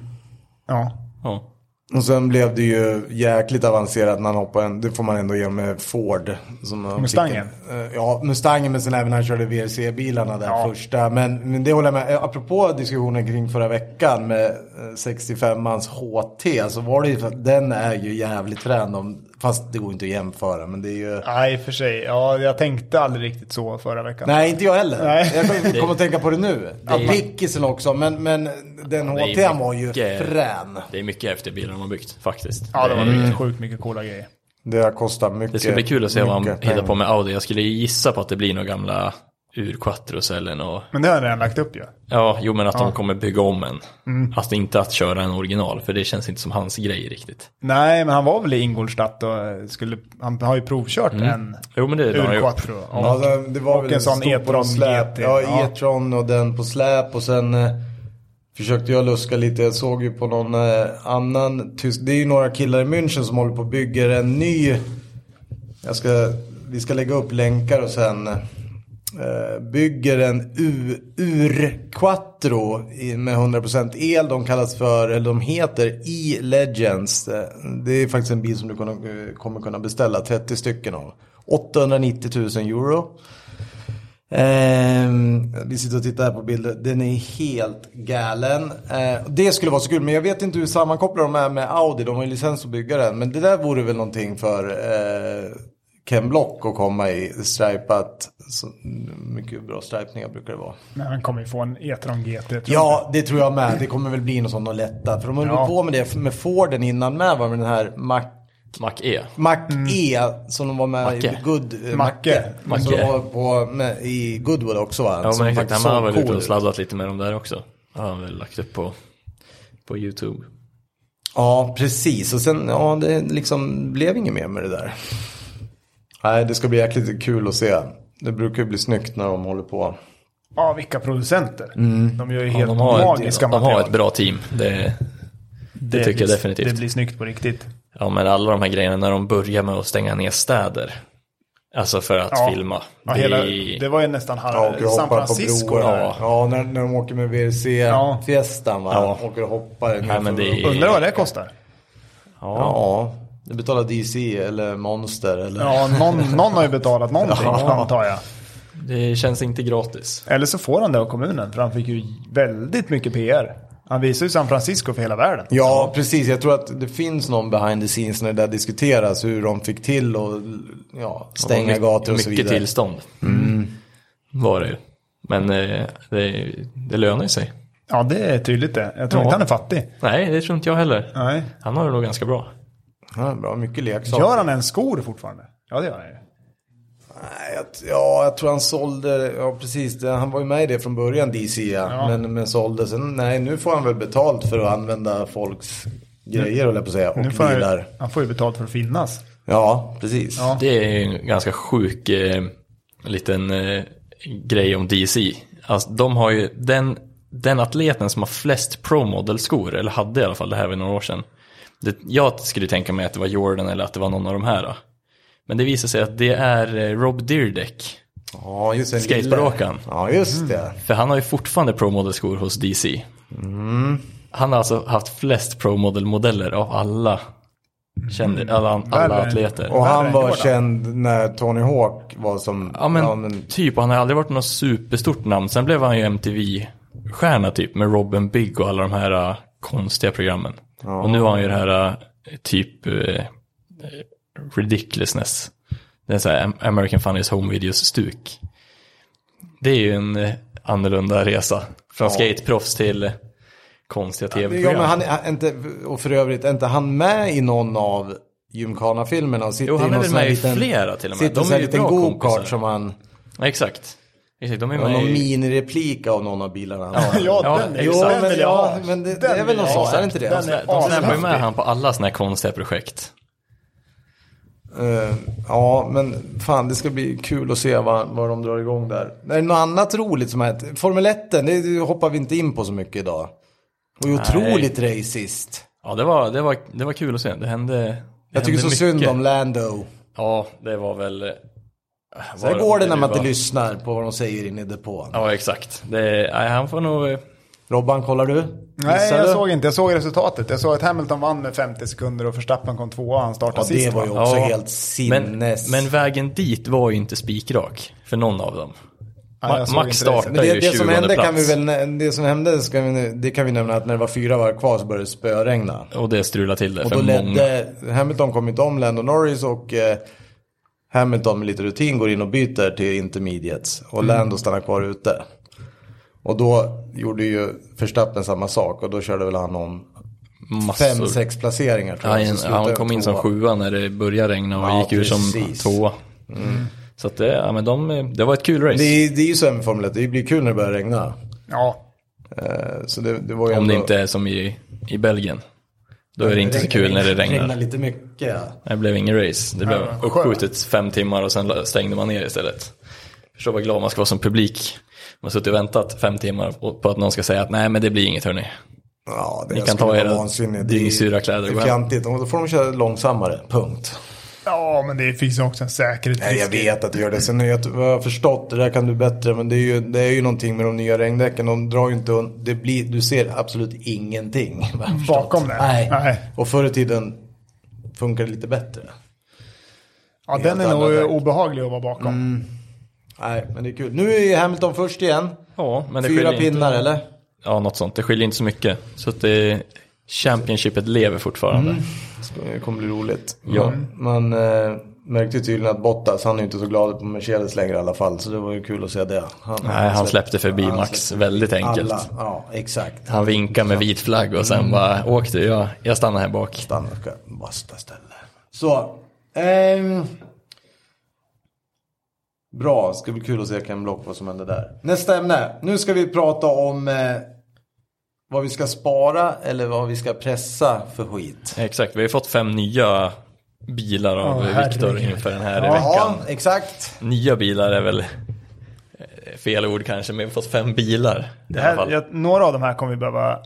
Speaker 2: Ja.
Speaker 1: Ja.
Speaker 3: Och sen blev det ju jäkligt avancerat när han hoppade. en- Det får man ändå ge med Ford. Som han fick
Speaker 2: Mustangen.
Speaker 3: en- eh, Ja, Mustangen men sen även när han körde WRC-bilarna där
Speaker 2: Ja.
Speaker 3: första. Men, men det håller jag med. Eh, Apropå diskussionen kring förra veckan med eh, 65-mans HT. Så var det ju för att den är ju jävligt frän. om- Fast det går inte att jämföra. Men det är ju...
Speaker 2: Nej, i och för sig. Ja, jag tänkte aldrig riktigt så förra veckan.
Speaker 3: Nej, inte jag heller.
Speaker 2: Nej.
Speaker 3: Jag kommer kom att tänka på det nu. Ja, Pickisen också, men, men den
Speaker 1: det är
Speaker 3: HT n var ju
Speaker 1: mycket-
Speaker 3: frän.
Speaker 1: Det är mycket häftiga bilar de har byggt faktiskt.
Speaker 2: Ja, det var
Speaker 1: är-
Speaker 2: mm. sjukt mycket coola grejer.
Speaker 3: Det har kostat mycket.
Speaker 1: Det ska bli kul att se vad han
Speaker 3: mycket
Speaker 1: hittar på
Speaker 3: pengar.
Speaker 1: med Audi. Jag skulle gissa på att det blir några gamla urquattros eller nå.
Speaker 2: Men det har jag redan lagt upp ju.
Speaker 1: Ja, jo men att de kommer bygga om en.
Speaker 3: Mm.
Speaker 1: Alltså inte att köra en original, för det känns inte som hans grej riktigt.
Speaker 2: Nej, men han var väl i Ingolstadt och eh, skulle, han har ju provkört en
Speaker 1: Mm. Jo men det är det han har
Speaker 2: ur
Speaker 1: gjort.
Speaker 2: quattro.
Speaker 3: Ja, alltså,
Speaker 2: Ja.
Speaker 3: det- det var
Speaker 2: och
Speaker 3: väl
Speaker 2: en sån
Speaker 3: stod på
Speaker 2: E-tron
Speaker 3: någon släp.
Speaker 2: GT,
Speaker 3: Ja,
Speaker 2: ja.
Speaker 3: E-tron och den på släp och sen eh, försökte jag luska lite. Jag såg ju på någon eh, annan tysk. Det är ju några killar i München som håller på och bygger en ny. Jag ska, vi ska lägga upp länkar och sen eh, bygger en U, ur quattro i- med 100% el. De kallas för, eller de heter E-Legends. Eh, Det är faktiskt en bil som du kunna, eh, kommer kunna beställa 30 stycken av. 890 000 euro. Ehm, vi sitter och tittar här på bilder. Den är helt galen. Eh, det skulle vara så kul. Men jag vet inte hur sammankopplade de är med Audi. De har ju licens att bygga den. Men det där vore väl någonting för eh, Ken Block att komma i. Stripat. Så, mycket bra stripningar brukar det vara.
Speaker 2: Men han kommer ju få en E-tron GT. tror jag.
Speaker 3: Ja, det tror jag med. Det kommer väl bli något sånt och lätta. För de höll
Speaker 2: Ja.
Speaker 3: på med det med Forden innan med. Var med den här Mac,
Speaker 1: Mac E.
Speaker 3: Mac E som de var med i
Speaker 1: Macke.
Speaker 3: Good,
Speaker 2: Macke.
Speaker 3: eh, Macke. Som
Speaker 1: Macke.
Speaker 3: de var på med, i Goodwood också va?
Speaker 1: Ja
Speaker 3: Som
Speaker 1: men exakt,
Speaker 3: faktiskt
Speaker 1: han har
Speaker 3: såg
Speaker 1: väl
Speaker 3: cool
Speaker 1: ute och
Speaker 3: ut.
Speaker 1: sladdat lite med de där också. Har han väl lagt upp på, på YouTube.
Speaker 3: Ja, precis. Och sen, ja, det liksom blev inget mer med det där. Nej, det ska bli jäkligt kul att se. Det brukar ju bli snyggt när de håller på.
Speaker 2: Ja, vilka producenter. De gör ju
Speaker 1: Mm. Ja,
Speaker 2: helt
Speaker 1: de har, ett,
Speaker 2: magiska
Speaker 1: de har
Speaker 2: material.
Speaker 1: ett bra team. Det, det, tycker
Speaker 2: blir,
Speaker 1: jag definitivt.
Speaker 2: Det blir snyggt på riktigt.
Speaker 1: Ja men alla de här grejerna när de börjar med att stänga ner städer. Alltså för att
Speaker 2: Ja.
Speaker 1: filma.
Speaker 2: Ja,
Speaker 1: det,
Speaker 2: hela,
Speaker 1: är-
Speaker 2: det var ju nästan halv,
Speaker 3: och
Speaker 2: San
Speaker 3: hoppar
Speaker 2: Francisco.
Speaker 3: broar.
Speaker 2: där.
Speaker 1: ja.
Speaker 3: Ja, när, när de åker med
Speaker 2: Ja.
Speaker 3: WRC-fiestan va.
Speaker 1: Ja.
Speaker 3: Åker och hoppar.
Speaker 1: Nej, men det är-
Speaker 2: Undrar vad det kostar.
Speaker 1: ja.
Speaker 3: Ja, det betalar DC eller Monster eller...
Speaker 2: Ja, någon, någon har ju betalat någonting antar jag.
Speaker 1: det känns inte gratis.
Speaker 2: Eller så får han det av kommunen, för han fick ju väldigt mycket PR. Han visar ju San Francisco för hela världen.
Speaker 3: Ja, precis. Jag tror att det finns någon behind the scenes när det där diskuteras. Hur de fick till och ja, stänga
Speaker 1: mycket,
Speaker 3: gator och så
Speaker 1: Mycket
Speaker 3: vidare. Mm.
Speaker 1: tillstånd. Var det ju. Men eh, det, det lönar ju sig.
Speaker 2: Ja, det är tydligt det. Jag tror
Speaker 1: Ja.
Speaker 2: inte han är fattig.
Speaker 1: Nej, det tror inte jag heller.
Speaker 2: Nej.
Speaker 1: Han har det nog ganska bra.
Speaker 3: Ja, bra, mycket leksaker.
Speaker 2: Gör han ens skor fortfarande? Ja, det gör han ju.
Speaker 3: Nej, jag- Ja, jag tror han sålde, ja precis, det- han var ju med i det från början DC ja. Men, men sålde sen, nej nu får han väl betalt för att använda folks grejer höll jag på att säga, och
Speaker 2: Nu får han,
Speaker 3: bilar.
Speaker 2: ju- han får ju betalt för att finnas.
Speaker 3: Ja, precis.
Speaker 2: Ja.
Speaker 1: Det är ju en ganska sjuk eh, liten eh, grej om DC. Alltså, de har ju den, den atleten som har flest Pro Model-skor, eller hade i alla fall det här vid några år sedan. Det, jag skulle tänka mig att det var Jordan eller att det var någon av de här. Då. Men det visar sig att det är eh, Rob Dyrdek.
Speaker 3: ja just det.
Speaker 1: Skateboardåkaren.
Speaker 3: Ja, just
Speaker 2: Mm.
Speaker 3: det.
Speaker 1: För han har ju fortfarande Pro Model-skor hos DC. Han har alltså haft flest Pro Model-modeller av alla, känd, alla, alla
Speaker 2: Värre.
Speaker 1: atleter.
Speaker 3: Och
Speaker 2: Värre
Speaker 3: han
Speaker 2: än
Speaker 3: var
Speaker 2: Jordan.
Speaker 3: känd när Tony Hawk var som...
Speaker 1: Ja men, typ, han har aldrig varit något superstort namn. Sen blev han ju MTV-stjärna typ med Robin Big och alla de här äh, konstiga programmen. Och nu har han ju det här äh, typ eh, eh, Ridiculousness. Det är så här Am- American Funniest Home Videos-stuk. Det är ju en eh, annorlunda resa. Från skateproffs till konstiga
Speaker 3: ja,
Speaker 1: tv-program.
Speaker 3: men han, han, inte, och för övrigt, är inte han med i någon av Gymkhana-filmerna? och sitter
Speaker 1: Jo, han
Speaker 3: i
Speaker 1: är
Speaker 3: någon
Speaker 1: väl
Speaker 3: sån här
Speaker 1: med i
Speaker 3: liten-
Speaker 1: flera till och med.
Speaker 3: Sitter
Speaker 1: De
Speaker 3: i sån här
Speaker 1: är ju
Speaker 3: liten
Speaker 1: bra
Speaker 3: go-kart
Speaker 1: kompisar.
Speaker 3: som han...
Speaker 1: Ja, Exakt. Exakt, de är
Speaker 3: Det var
Speaker 1: med
Speaker 3: någon
Speaker 1: i...
Speaker 3: minireplik av någon av bilarna.
Speaker 2: Ja,
Speaker 1: Ja,
Speaker 2: den,
Speaker 1: jo,
Speaker 2: den
Speaker 3: men
Speaker 2: vill jag
Speaker 3: ja,
Speaker 2: ha.
Speaker 3: men det-
Speaker 2: Den
Speaker 3: det är väl
Speaker 2: vill
Speaker 3: någon
Speaker 2: jag ha.
Speaker 3: sån, är det inte det?
Speaker 2: Den
Speaker 3: De
Speaker 1: De släpper ju
Speaker 2: ashäftig.
Speaker 1: med han på alla såna här konstiga projekt.
Speaker 3: Eh, ja, men fan det ska bli kul att se vad, vad de drar igång där. Är det något annat roligt som har hänt? Formel 1 det det hoppar vi inte in på så mycket idag. Det var ju otroligt racist.
Speaker 1: Ja, det var, det, var, det var kul att se. Det hände det
Speaker 3: Jag tycker så
Speaker 1: hände
Speaker 3: synd
Speaker 1: mycket.
Speaker 3: om Lando.
Speaker 1: Ja, det var väl... eh,
Speaker 3: Så här
Speaker 1: var-
Speaker 3: går det när man
Speaker 1: var-
Speaker 3: inte lyssnar på vad de säger inne i depån.
Speaker 1: Ja, exakt. Det, nej, han får nog... eh,
Speaker 3: Robban, kollar du?
Speaker 2: Nej,
Speaker 3: Missar
Speaker 2: jag
Speaker 3: du?
Speaker 2: såg inte. Jag såg resultatet. Jag såg att Hamilton vann med 50 sekunder och Verstappen kom tvåa och han startade
Speaker 3: Ja,
Speaker 2: sist.
Speaker 3: det var ju
Speaker 2: va?
Speaker 3: också
Speaker 1: Ja,
Speaker 3: helt
Speaker 1: Men,
Speaker 3: sinnes.
Speaker 1: men vägen dit var ju inte spikrak för någon av dem.
Speaker 2: Nej, jag
Speaker 1: Ma-
Speaker 2: såg
Speaker 1: Max
Speaker 2: inte det.
Speaker 1: startar
Speaker 3: Men
Speaker 1: ju
Speaker 3: det, det som
Speaker 1: 20:e
Speaker 3: hände
Speaker 1: plats.
Speaker 3: kan vi väl, nä- det som hände ska vi, nu- det kan vi nämna att när det var fyra varv kvar så började det spöregna.
Speaker 1: Och det strulade till det
Speaker 3: Och
Speaker 1: för
Speaker 3: då
Speaker 1: många.
Speaker 3: ledde, Hamilton kom inte om Lando Norris och eh, Hamilton med lite rutin går in och byter till intermediates.
Speaker 1: Mm.
Speaker 3: Och Lando stannar kvar ute. Och då gjorde ju Verstappen samma sak och då körde väl han om
Speaker 1: Massor.
Speaker 3: fem, sex placeringar tror
Speaker 1: Ja,
Speaker 3: jag.
Speaker 1: en,
Speaker 3: så slutade
Speaker 1: han
Speaker 3: det
Speaker 1: kom in som
Speaker 3: tvåa.
Speaker 1: sjua när det började regna och
Speaker 3: Ja,
Speaker 1: gick ur som
Speaker 3: precis. Mm.
Speaker 1: tvåa. Så att det, ja, men de, eh, det var ett kul race.
Speaker 3: Det är, det är ju så här med Formel 1, det blir kul när det börjar regna.
Speaker 2: Ja,
Speaker 3: Eh, Så det, det var ju
Speaker 1: Om det
Speaker 3: ändå-
Speaker 1: inte är som i, i Belgien. Då är det inte så kul när det regnar.
Speaker 3: lite mycket. ja.
Speaker 1: Det blev ingen race. Det blev
Speaker 2: men skönt.
Speaker 1: uppskjutet fem timmar och sen stängde man ner istället. Förstår vad glad man ska vara som publik. Man har suttit och väntat fem timmar på- på att någon ska säga att nej men det blir inget hörni.
Speaker 3: Ja, det
Speaker 1: Ni kan
Speaker 3: skulle
Speaker 1: ta
Speaker 3: vara
Speaker 1: era
Speaker 3: vansinnigt. Det är-
Speaker 1: dyngsyra kläder och
Speaker 3: Det
Speaker 1: gå
Speaker 3: är
Speaker 1: hem.
Speaker 3: fjantigt. Då får de köra långsammare, punkt.
Speaker 2: ja men det finns ju också en
Speaker 3: Nej,
Speaker 2: säkerhetsrisk.
Speaker 3: jag vet att du gör det. Sen är jag, vad jag har förstått, det där kan du bättre, men det är ju, det är ju någonting med de nya regndäcken. De drar ju inte un- det blir, Du ser absolut ingenting. vad jag har förstått.
Speaker 2: Bakom det?
Speaker 3: Nej.
Speaker 2: Nej.
Speaker 3: Och förr i tiden funkar det lite bättre.
Speaker 2: Ja, den är
Speaker 3: Helt Mm.
Speaker 2: nog
Speaker 3: andra tack.
Speaker 2: obehaglig att vara bakom.
Speaker 3: Nej, men det är kul. Nu är Hamilton först igen.
Speaker 1: Ja, men det
Speaker 3: Fyra
Speaker 1: skiljer inte.
Speaker 3: pinnar eller?
Speaker 1: Ja, något sånt. Det skiljer inte så mycket. Så att det, Championshipet lever fortfarande.
Speaker 3: Mm. Det kommer bli roligt.
Speaker 1: Ja.
Speaker 3: Man eh, märkte ju tydligen att Bottas, han är ju inte så glad på Mercedes längre i alla fall. Så det var ju kul att se det. Han,
Speaker 1: Nej, han släppte förbi Max väldigt enkelt.
Speaker 3: Alla, Mm. ja exakt.
Speaker 1: Han vinkade med vit flagg och sen bara åk du, jag, jag stannar här bak.
Speaker 3: Stanna ska basta ställe. Så. ehm, bra, ska bli kul att se Ken Block vad som händer där. Nästa ämne. Nu ska vi prata om eh, vad vi ska spara eller vad vi ska pressa för skit.
Speaker 1: Exakt, vi har ju fått fem nya bilar av
Speaker 2: Åh,
Speaker 1: Viktor
Speaker 2: herregud.
Speaker 1: inför den här
Speaker 3: Ja,
Speaker 1: veckan.
Speaker 3: exakt.
Speaker 1: Nya bilar är väl eh, fel ord kanske, men vi har fått fem bilar.
Speaker 2: Det
Speaker 1: i alla
Speaker 2: här,
Speaker 1: fall.
Speaker 2: jag, några av de här kommer vi behöva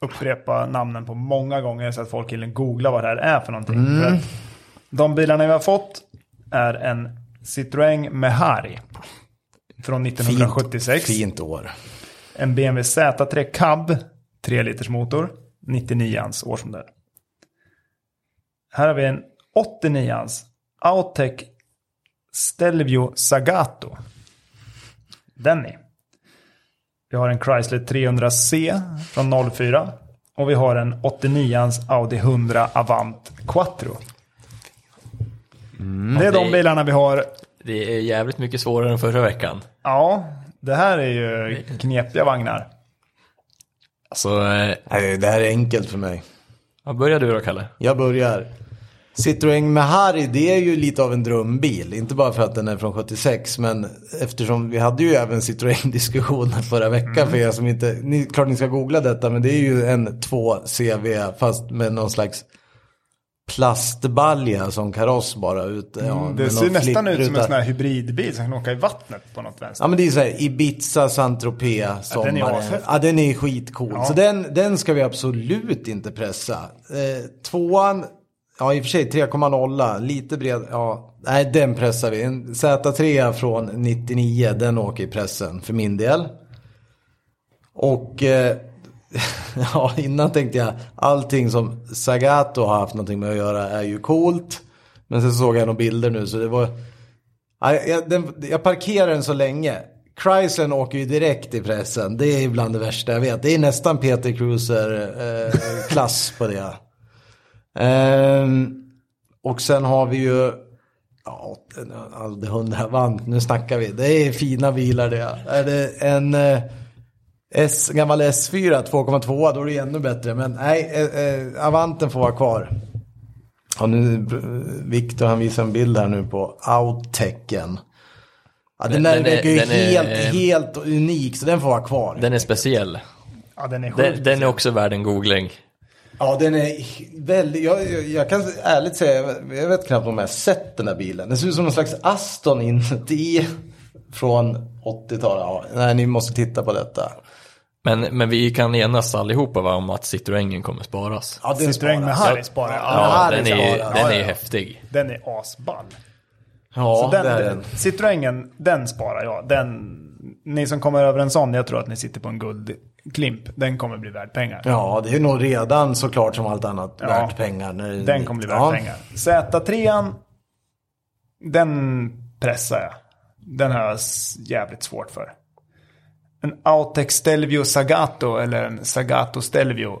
Speaker 2: upprepa namnen på många gånger så att folk hinner googla vad det här är för någonting.
Speaker 1: Mm.
Speaker 2: För att de bilarna vi har fått är en Citroën Mehari från 1976.
Speaker 3: Fint år.
Speaker 2: En BMW Z3 Cab 3 liters motor, 99ans årsmodell. Här har vi en 89ans Autec Stelvio Sagato. Den är. Vi har en Chrysler 300C från 04 och vi har en 89ans Audi 100 Avant Quattro. det är
Speaker 1: det-
Speaker 2: de bilarna vi har.
Speaker 1: Det är jävligt mycket svårare än förra veckan.
Speaker 2: Ja, det här är ju knepiga vagnar.
Speaker 1: Alltså, eh,
Speaker 3: Nej, Äh, Det här är enkelt för mig.
Speaker 1: vad börjar du då Kalle?
Speaker 3: Jag börjar. Citroën Mehari, det är ju lite av en drömbil. Inte bara för att den är från 76, men eftersom vi hade ju även Citroën-diskussionen förra veckan för
Speaker 2: Mm.
Speaker 3: er som inte... Ni, klart ni ska googla detta, men det är ju en 2CV fast med någon slags plastbalja som kaross bara ut. ja, med
Speaker 2: Mm, Det
Speaker 3: någon
Speaker 2: ser nästan ut som en
Speaker 3: flippruta.
Speaker 2: sån här hybridbil som kan åka i vattnet på något vänster.
Speaker 3: Ja men det är så här Ibiza, Saint-Tropez, sommaren.
Speaker 2: ashäftig.
Speaker 3: Ja den är skitcool.
Speaker 2: Ja.
Speaker 3: Så den, den ska vi absolut inte pressa. Eh, tvåan, ja i och för sig 3,0, lite bred. Ja, nej den pressar vi. En Z3 från 99, den åker i pressen för min del. Och eh, ja, innan tänkte jag allting som Sagato har haft någonting med att göra är ju coolt. Men sen såg jag några bilder nu så det var... Ja, jag, den, jag parkerar den så länge. Chryslern åker ju direkt i pressen. Det är bland det värsta jag vet. Det är nästan Peter Cruiser-klass på det. Ehm, och sen har vi ju... Ja, Alde 100 vant. Nu snackar vi. Det är fina bilar det. Är det en... eh, S, gammal S4 2,2 då är det ännu bättre. Men nej, eh, eh, Avanten får vara kvar. Och nu, eh, Viktor han visar en bild här nu på Outecken. Ja, den,
Speaker 1: Den-
Speaker 3: där
Speaker 1: den är-
Speaker 3: verkar ju
Speaker 1: den är-
Speaker 3: helt, helt unik så den får vara kvar.
Speaker 1: Den är speciell.
Speaker 2: Ja, den är
Speaker 1: Den,
Speaker 2: sjukt.
Speaker 1: den är också värd en googling.
Speaker 3: Ja, den är väldigt... Jag, jag, jag kan ärligt säga, jag- jag vet knappt om jag har sett den här bilen. Den ser ut som någon slags Aston inuti från 80-talet. Ja, nej, ni måste titta på detta.
Speaker 1: Men, men vi kan enas allihopa va, om att Citroengen kommer sparas.
Speaker 3: Ja, den
Speaker 2: Citroën med
Speaker 3: sparas.
Speaker 2: Harris bara.
Speaker 1: Ja,
Speaker 3: den
Speaker 1: den
Speaker 3: är
Speaker 1: är,
Speaker 3: sparad.
Speaker 1: den
Speaker 2: Ja,
Speaker 1: är
Speaker 2: ja.
Speaker 1: häftig.
Speaker 2: Den är asball.
Speaker 3: Ja,
Speaker 2: Så den,
Speaker 3: det är den.
Speaker 2: Citroengen, den sparar jag. Den, ni som kommer över en sån, jag tror att ni sitter på en guldklimp. Den kommer bli värd pengar.
Speaker 3: Ja, det är nog redan såklart som allt annat
Speaker 2: Ja.
Speaker 3: värt pengar. När det är
Speaker 2: Den
Speaker 3: nytt.
Speaker 2: kommer bli
Speaker 3: Ja.
Speaker 2: värd pengar. Z3, den pressar jag. Den har jag s- jävligt svårt för. En Autex Stelvio Sagato eller en Sagato Stelvio.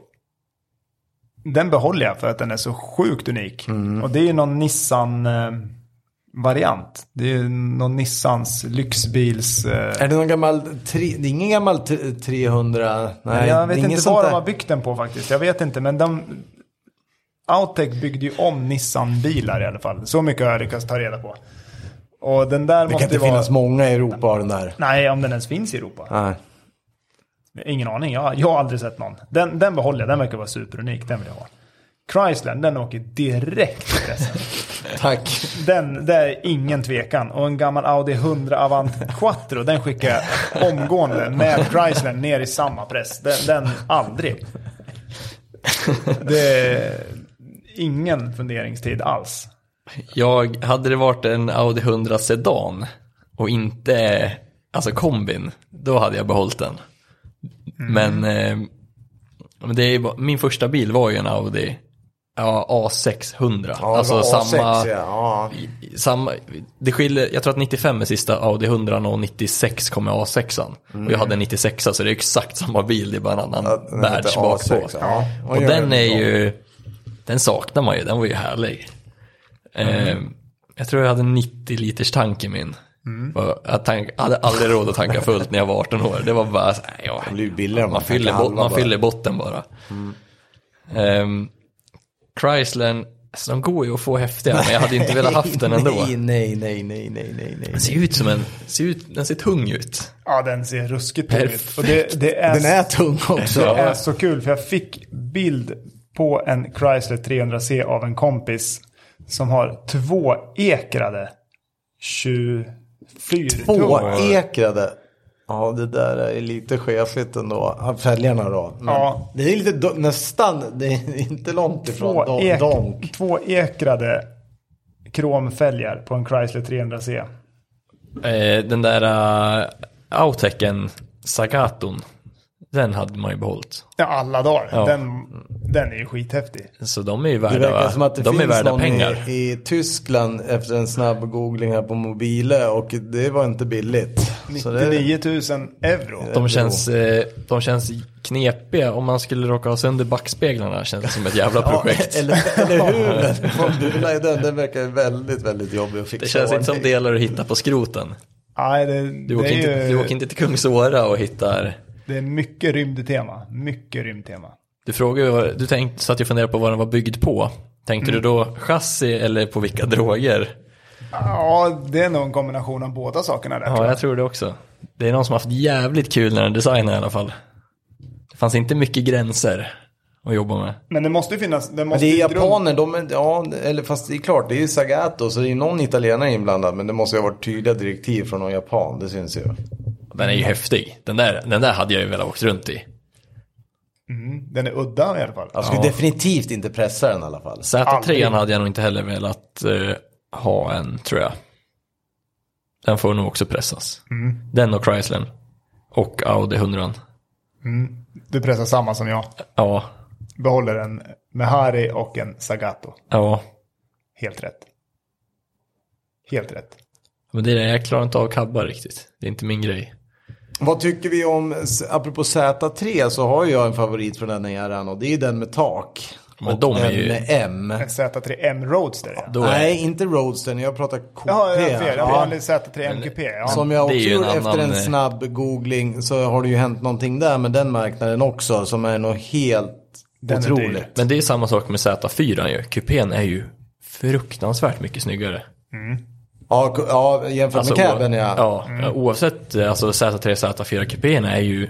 Speaker 2: Den behåller jag för att den är så sjukt unik.
Speaker 3: Mm.
Speaker 2: Och det är ju någon Nissan-variant. Det är ju någon Nissans lyxbils... eh,
Speaker 3: Är det någon gammal, tre, det är ingen gammal t- 300, nej.
Speaker 2: jag vet
Speaker 3: det är inget
Speaker 2: inte
Speaker 3: sånt
Speaker 2: vad de
Speaker 3: där.
Speaker 2: har byggt den på faktiskt. Jag vet inte, men de... Outec byggde ju om Nissan-bilar i alla fall. Så mycket har jag lyckats ta reda på. Och den där
Speaker 3: Det kan
Speaker 2: måste
Speaker 3: inte
Speaker 2: vara...
Speaker 3: finnas många i Europa av den där.
Speaker 2: Nej, om den ens finns i Europa.
Speaker 3: Nej.
Speaker 2: Ingen aning, jag, jag har aldrig sett någon. Den, den behåller jag, den verkar vara superunik, den vill jag ha. Chrysler, den åker direkt i pressen.
Speaker 3: Tack.
Speaker 2: Den, det är ingen tvekan. Och en gammal Audi 100 Avant Quattro, den skickar jag omgående med Chrysler ner i samma press. Den, den aldrig. Det är ingen funderingstid alls.
Speaker 1: Jag, hade det varit en Audi 100 Sedan och inte, alltså kombin, då hade jag behållit den.
Speaker 3: Mm.
Speaker 1: Men, eh, men det är, ju bara- min första bil var ju en Audi ja, A600.
Speaker 3: Ja,
Speaker 1: alltså
Speaker 3: det var A6,
Speaker 1: samma,
Speaker 3: ja. Ja.
Speaker 1: i- samma, det skiljer, jag tror att 95 är sista Audi 100 och 96 kommer A6an. Och jag hade en 96 så det är exakt samma bil, det är bara en
Speaker 3: Mm. Ja,
Speaker 1: annan
Speaker 3: den heter
Speaker 1: badge bakpå.
Speaker 3: A6, ja.
Speaker 1: Och
Speaker 3: Oj, oj,
Speaker 1: den
Speaker 3: oj.
Speaker 1: är ju, den saknar man ju, den var ju härlig. Eh, jag tror jag hade 90 liters tank i min.
Speaker 3: Mm.
Speaker 1: Och Jag tank, hade aldrig råd att tanka fullt när jag var 18 år. Det var bara, så, nej, ja,
Speaker 3: Det blir ju billigare om
Speaker 1: man,
Speaker 3: man
Speaker 1: fyller,
Speaker 3: tankar
Speaker 1: bot,
Speaker 3: halva
Speaker 1: man
Speaker 3: bara. Mm.
Speaker 1: fyller botten bara. Ehm, Chryslern, alltså de går ju att få häftiga, men jag hade inte velat haft den ändå.
Speaker 3: Nej, nej, nej, nej, nej, nej. nej.
Speaker 1: Den ser ut som en, ser ut, den ser tung ut.
Speaker 2: Ja, den ser ruskigt tung ut.
Speaker 1: Perfekt.
Speaker 2: Och det, det är,
Speaker 3: Den är tung också.
Speaker 2: det är så kul, för jag fick bild på en Chrysler 300C av en kompis som har två ekrade 24
Speaker 3: Tvåekrade. Ja, det där är lite skevt ändå. Ja, Fälgarna då. Men
Speaker 2: Ja.
Speaker 3: Det är lite do- nästan, det är inte långt ifrån
Speaker 2: två,
Speaker 3: don-
Speaker 2: ek,
Speaker 3: donk.
Speaker 2: två ekrade kromfälgar på en Chrysler 300C.
Speaker 1: Eh, den där uh, Outecen, Sagaton, den hade man ju behållit.
Speaker 2: Ja, alla dagar.
Speaker 1: Ja.
Speaker 2: Den, den är ju skithäftig.
Speaker 1: Så de är ju
Speaker 3: Det
Speaker 1: värda,
Speaker 3: verkar som att det
Speaker 1: de är
Speaker 3: finns
Speaker 1: värda
Speaker 3: någon
Speaker 1: pengar.
Speaker 3: i, i Tyskland efter en snabb googling här på mobile och det var inte billigt. Så det,
Speaker 2: 99 000 euro.
Speaker 1: De känns, eh, de känns knepiga. Om man skulle råka ha sönder backspeglarna känns det som ett jävla
Speaker 3: ja,
Speaker 1: projekt.
Speaker 3: eller, eller hur? Fan, du la i den, den verkar väldigt, väldigt jobbig att fixa
Speaker 1: det känns inte som
Speaker 3: ordning.
Speaker 1: delar du hittar på skroten.
Speaker 2: Nej, det,
Speaker 1: Du
Speaker 2: det,
Speaker 1: åker,
Speaker 2: är
Speaker 1: inte, du
Speaker 2: ju,
Speaker 1: åker inte till Kungsåra och hittar...
Speaker 2: det är mycket rymdtema. Mycket rymdtema.
Speaker 1: Du frågade, ju vad- du tänkte, så att jag funderade på vad den var byggd på. Tänkte
Speaker 3: Mm.
Speaker 1: du då chassi eller på vilka droger?
Speaker 2: Ja, det är nog en kombination av båda sakerna där.
Speaker 1: Ja, jag tror det också. Det är någon som haft jävligt kul när den designade i alla fall. Det fanns inte mycket gränser att jobba med.
Speaker 2: Men det måste ju finnas... Det,
Speaker 3: Men
Speaker 2: måste
Speaker 3: det är
Speaker 2: ju grund-
Speaker 3: japaner, de är, ja, eller fast det är klart, det är ju Sagato så det är någon italienare inblandad men det måste ju ha varit tydliga direktiv från någon japan, det syns ju.
Speaker 1: Den är ju häftig. Den där, den där hade jag ju velat åkt runt i.
Speaker 2: Mm, den är udda i alla fall.
Speaker 1: Alltså-
Speaker 3: Jag skulle definitivt inte pressa den i alla fall.
Speaker 1: Z3
Speaker 2: Aldrig.
Speaker 1: hade jag nog inte heller velat eh, ha en, tror jag. Den får nog också pressas. Den och Chryslern. Och Audi 100.
Speaker 2: Du pressar samma som jag.
Speaker 1: Ja,
Speaker 2: Behåller en Mehari och en Sagato.
Speaker 1: ja.
Speaker 2: Helt rätt. Helt rätt.
Speaker 1: Men det är det, jag klarar inte av cabbar riktigt. Det är inte min grej.
Speaker 3: Vad tycker vi om, apropå Z3 så har ju jag en favorit från den eran och det är den med tak.
Speaker 1: Men
Speaker 3: och
Speaker 1: de är
Speaker 3: den
Speaker 1: ju-
Speaker 3: med M.
Speaker 2: En Z3M Roadster. Ja.
Speaker 1: Då är-
Speaker 3: Nej, inte Roadster, jag pratar KP.
Speaker 2: Jaha, jag har fel. Jag
Speaker 3: Ja.
Speaker 2: har en Z3M Coupé. Ja.
Speaker 3: Som jag
Speaker 1: Det
Speaker 3: också
Speaker 1: är ju en
Speaker 3: gjorde efter
Speaker 1: annan,
Speaker 3: en
Speaker 1: eh,
Speaker 3: snabb googling så har det ju hänt någonting där med den marknaden också som är nog helt
Speaker 2: Den är dyr.
Speaker 3: otroligt.
Speaker 1: Men det är samma sak med Z4 ju. Kupén är ju fruktansvärt mycket snyggare.
Speaker 3: Ja, k- ja, jämfört med caben ja.
Speaker 1: Alltså, Ja, oavsett, eh, alltså Z3, Z4 kupén är ju,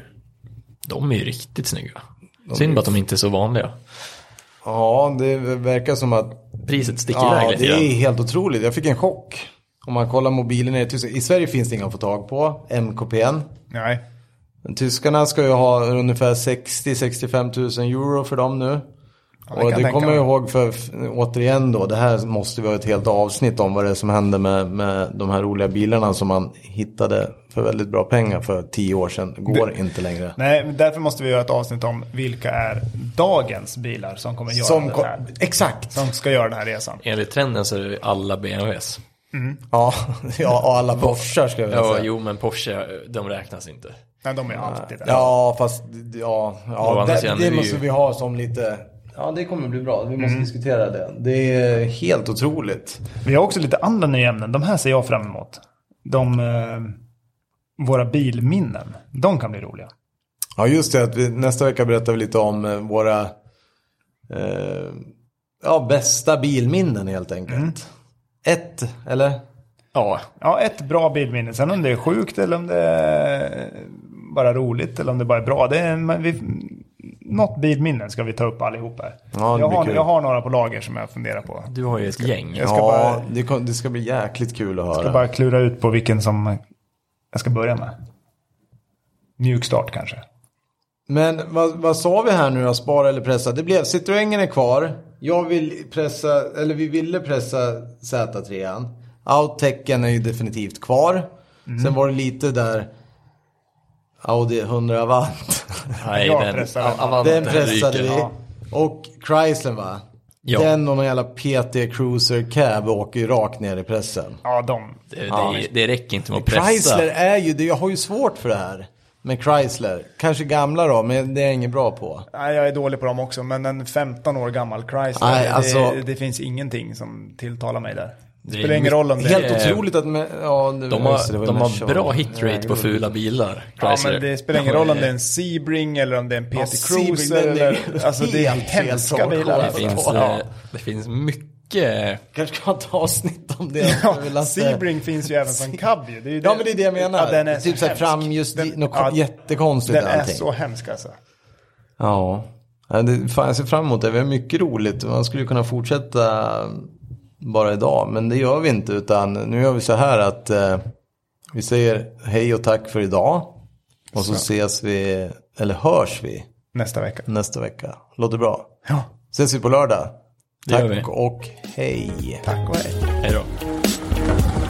Speaker 1: de är ju riktigt snygga. Synd bara att de inte är så vanliga.
Speaker 3: Ja, det verkar som att
Speaker 1: Priset sticker
Speaker 3: ja,
Speaker 1: iväg lite
Speaker 3: det är
Speaker 1: grann.
Speaker 3: helt otroligt. Jag fick en chock. Om man kollar mobilen i Tyskland. I Sverige finns det inga att få tag på. MKPn.
Speaker 2: Nej.
Speaker 3: Men tyskarna ska ju ha ungefär 60-65 000 euro för dem nu.
Speaker 2: Ja, det kan
Speaker 3: och
Speaker 2: jag
Speaker 3: det
Speaker 2: tänka
Speaker 3: kommer
Speaker 2: mig.
Speaker 3: jag ihåg för, f- återigen då, det här måste vi ha ett helt avsnitt om vad det är som hände med, med de här roliga bilarna som man hittade för väldigt bra pengar för tio år sedan. Går inte längre.
Speaker 2: Nej, men därför måste vi göra ett avsnitt om vilka är dagens bilar som kommer göra
Speaker 3: Som
Speaker 2: den
Speaker 3: kom,
Speaker 2: här.
Speaker 3: exakt!
Speaker 2: Som ska göra den här resan.
Speaker 1: Enligt trenden så är det alla BMWs.
Speaker 3: Ja, ja, och alla Porschar skulle jag vilja
Speaker 1: Ja,
Speaker 3: säga.
Speaker 1: jo men Porsche, de räknas inte.
Speaker 2: Nej, de är alltid där.
Speaker 3: Ja, fast ja,
Speaker 1: å
Speaker 3: ja
Speaker 1: andra
Speaker 3: det,
Speaker 1: sidan är
Speaker 3: det
Speaker 1: det
Speaker 3: måste
Speaker 1: ju-
Speaker 3: vi ha som lite... Mm. Ja, det kommer bli bra. Vi måste diskutera det. Det är helt otroligt.
Speaker 2: Vi har också lite andra nya ämnen. De här ser jag fram emot. De, eh, våra bilminnen. De kan bli roliga.
Speaker 3: Ja, just det. Att vi, nästa vecka berättar vi lite om eh, våra eh, ja, bästa bilminnen helt enkelt.
Speaker 2: Mm.
Speaker 3: Ett, eller?
Speaker 2: Ja. Ja, ett bra bilminne. Sen om det är sjukt eller om det är bara roligt eller om det bara är bra. Det är, men vi, något bilminne ska vi ta upp allihop här.
Speaker 3: Ja, det
Speaker 2: jag,
Speaker 3: blir
Speaker 2: har,
Speaker 3: kul.
Speaker 2: jag har några på lager som jag funderar på.
Speaker 1: Du har ju ett gäng.
Speaker 2: Jag ska
Speaker 3: Ja,
Speaker 2: bara-
Speaker 3: det, kom, det ska bli jäkligt kul att
Speaker 2: Jag
Speaker 3: höra.
Speaker 2: ska bara klura ut på vilken som jag ska börja med. Mjuk start kanske.
Speaker 3: Men vad, vad sa vi här nu då? Spara eller pressa? Det blev Citroengen är kvar. Jag vill pressa, eller vi ville pressa Z3. Outtaken är ju definitivt kvar.
Speaker 2: Mm.
Speaker 3: Sen var det lite där Audi 100 Avant.
Speaker 1: Nej,
Speaker 2: Jag
Speaker 1: den,
Speaker 2: pressar den.
Speaker 1: Avanten
Speaker 3: Den pressade
Speaker 1: ryker.
Speaker 3: vi.
Speaker 2: Ja.
Speaker 3: Och Chrysler va?
Speaker 1: Ja.
Speaker 3: Den och någon jävla PT Cruiser Cab åker ju rakt ner i pressen.
Speaker 2: Ja, de.
Speaker 1: Det, det, det räcker inte med att pressa.
Speaker 3: Chrysler är ju, det, jag har ju svårt för det här. Med Chrysler. Kanske gamla då, men det är jag inget bra på.
Speaker 2: Nej, jag är dålig på dem också, men en 15 år gammal Chrysler,
Speaker 3: Nej, alltså-
Speaker 2: det, det finns ingenting som tilltalar mig där. Det
Speaker 1: Det är
Speaker 2: spelar ingen roll om det
Speaker 3: Helt
Speaker 1: är-
Speaker 3: otroligt att... Med, ja, det,
Speaker 1: De
Speaker 3: just det, det
Speaker 1: har,
Speaker 3: var
Speaker 1: de
Speaker 3: ju
Speaker 1: har
Speaker 3: Merca,
Speaker 1: bra
Speaker 3: va?
Speaker 1: hitrate på fula bilar.
Speaker 2: Ja,
Speaker 1: Chrysler.
Speaker 2: men det spelar ingen roll om det är en Sebring eller om det är en PT
Speaker 3: Sebring, den
Speaker 2: Cruiser.
Speaker 3: är
Speaker 2: Eller, alltså det är
Speaker 3: helt fel
Speaker 2: hemska
Speaker 3: sak.
Speaker 2: bilar.
Speaker 1: Det
Speaker 2: alltså.
Speaker 1: finns,
Speaker 2: Ja.
Speaker 1: eh, det finns mycket.
Speaker 3: Kanske ska ha ett avsnitt om det.
Speaker 2: Ja,
Speaker 3: Jag vill att- eh,
Speaker 2: Sebring finns ju även som cab ju. Det är ju
Speaker 3: Ja men det är det jag menar.
Speaker 2: Ja, den är
Speaker 3: typ
Speaker 2: så
Speaker 3: såhär
Speaker 2: hemsk.
Speaker 3: fram just
Speaker 2: Den-
Speaker 3: i- något
Speaker 2: ja,
Speaker 3: jättekonstigt
Speaker 2: Den är
Speaker 3: allting.
Speaker 2: så hemsk alltså.
Speaker 3: Ja. Ja, Det, fan, jag ser fram emot det. Vi har mycket roligt. Man skulle ju kunna fortsätta bara idag. Men det gör vi inte. Utan nu gör vi så här att eh, vi säger hej och tack för idag. Och så ses vi, eller hörs vi
Speaker 2: Nästa vecka.
Speaker 3: nästa vecka. Låter bra.
Speaker 2: Ja,
Speaker 3: Ses vi på lördag.
Speaker 1: Det gör vi.
Speaker 3: Tack och hej.
Speaker 2: tack och hej.
Speaker 1: Hej då.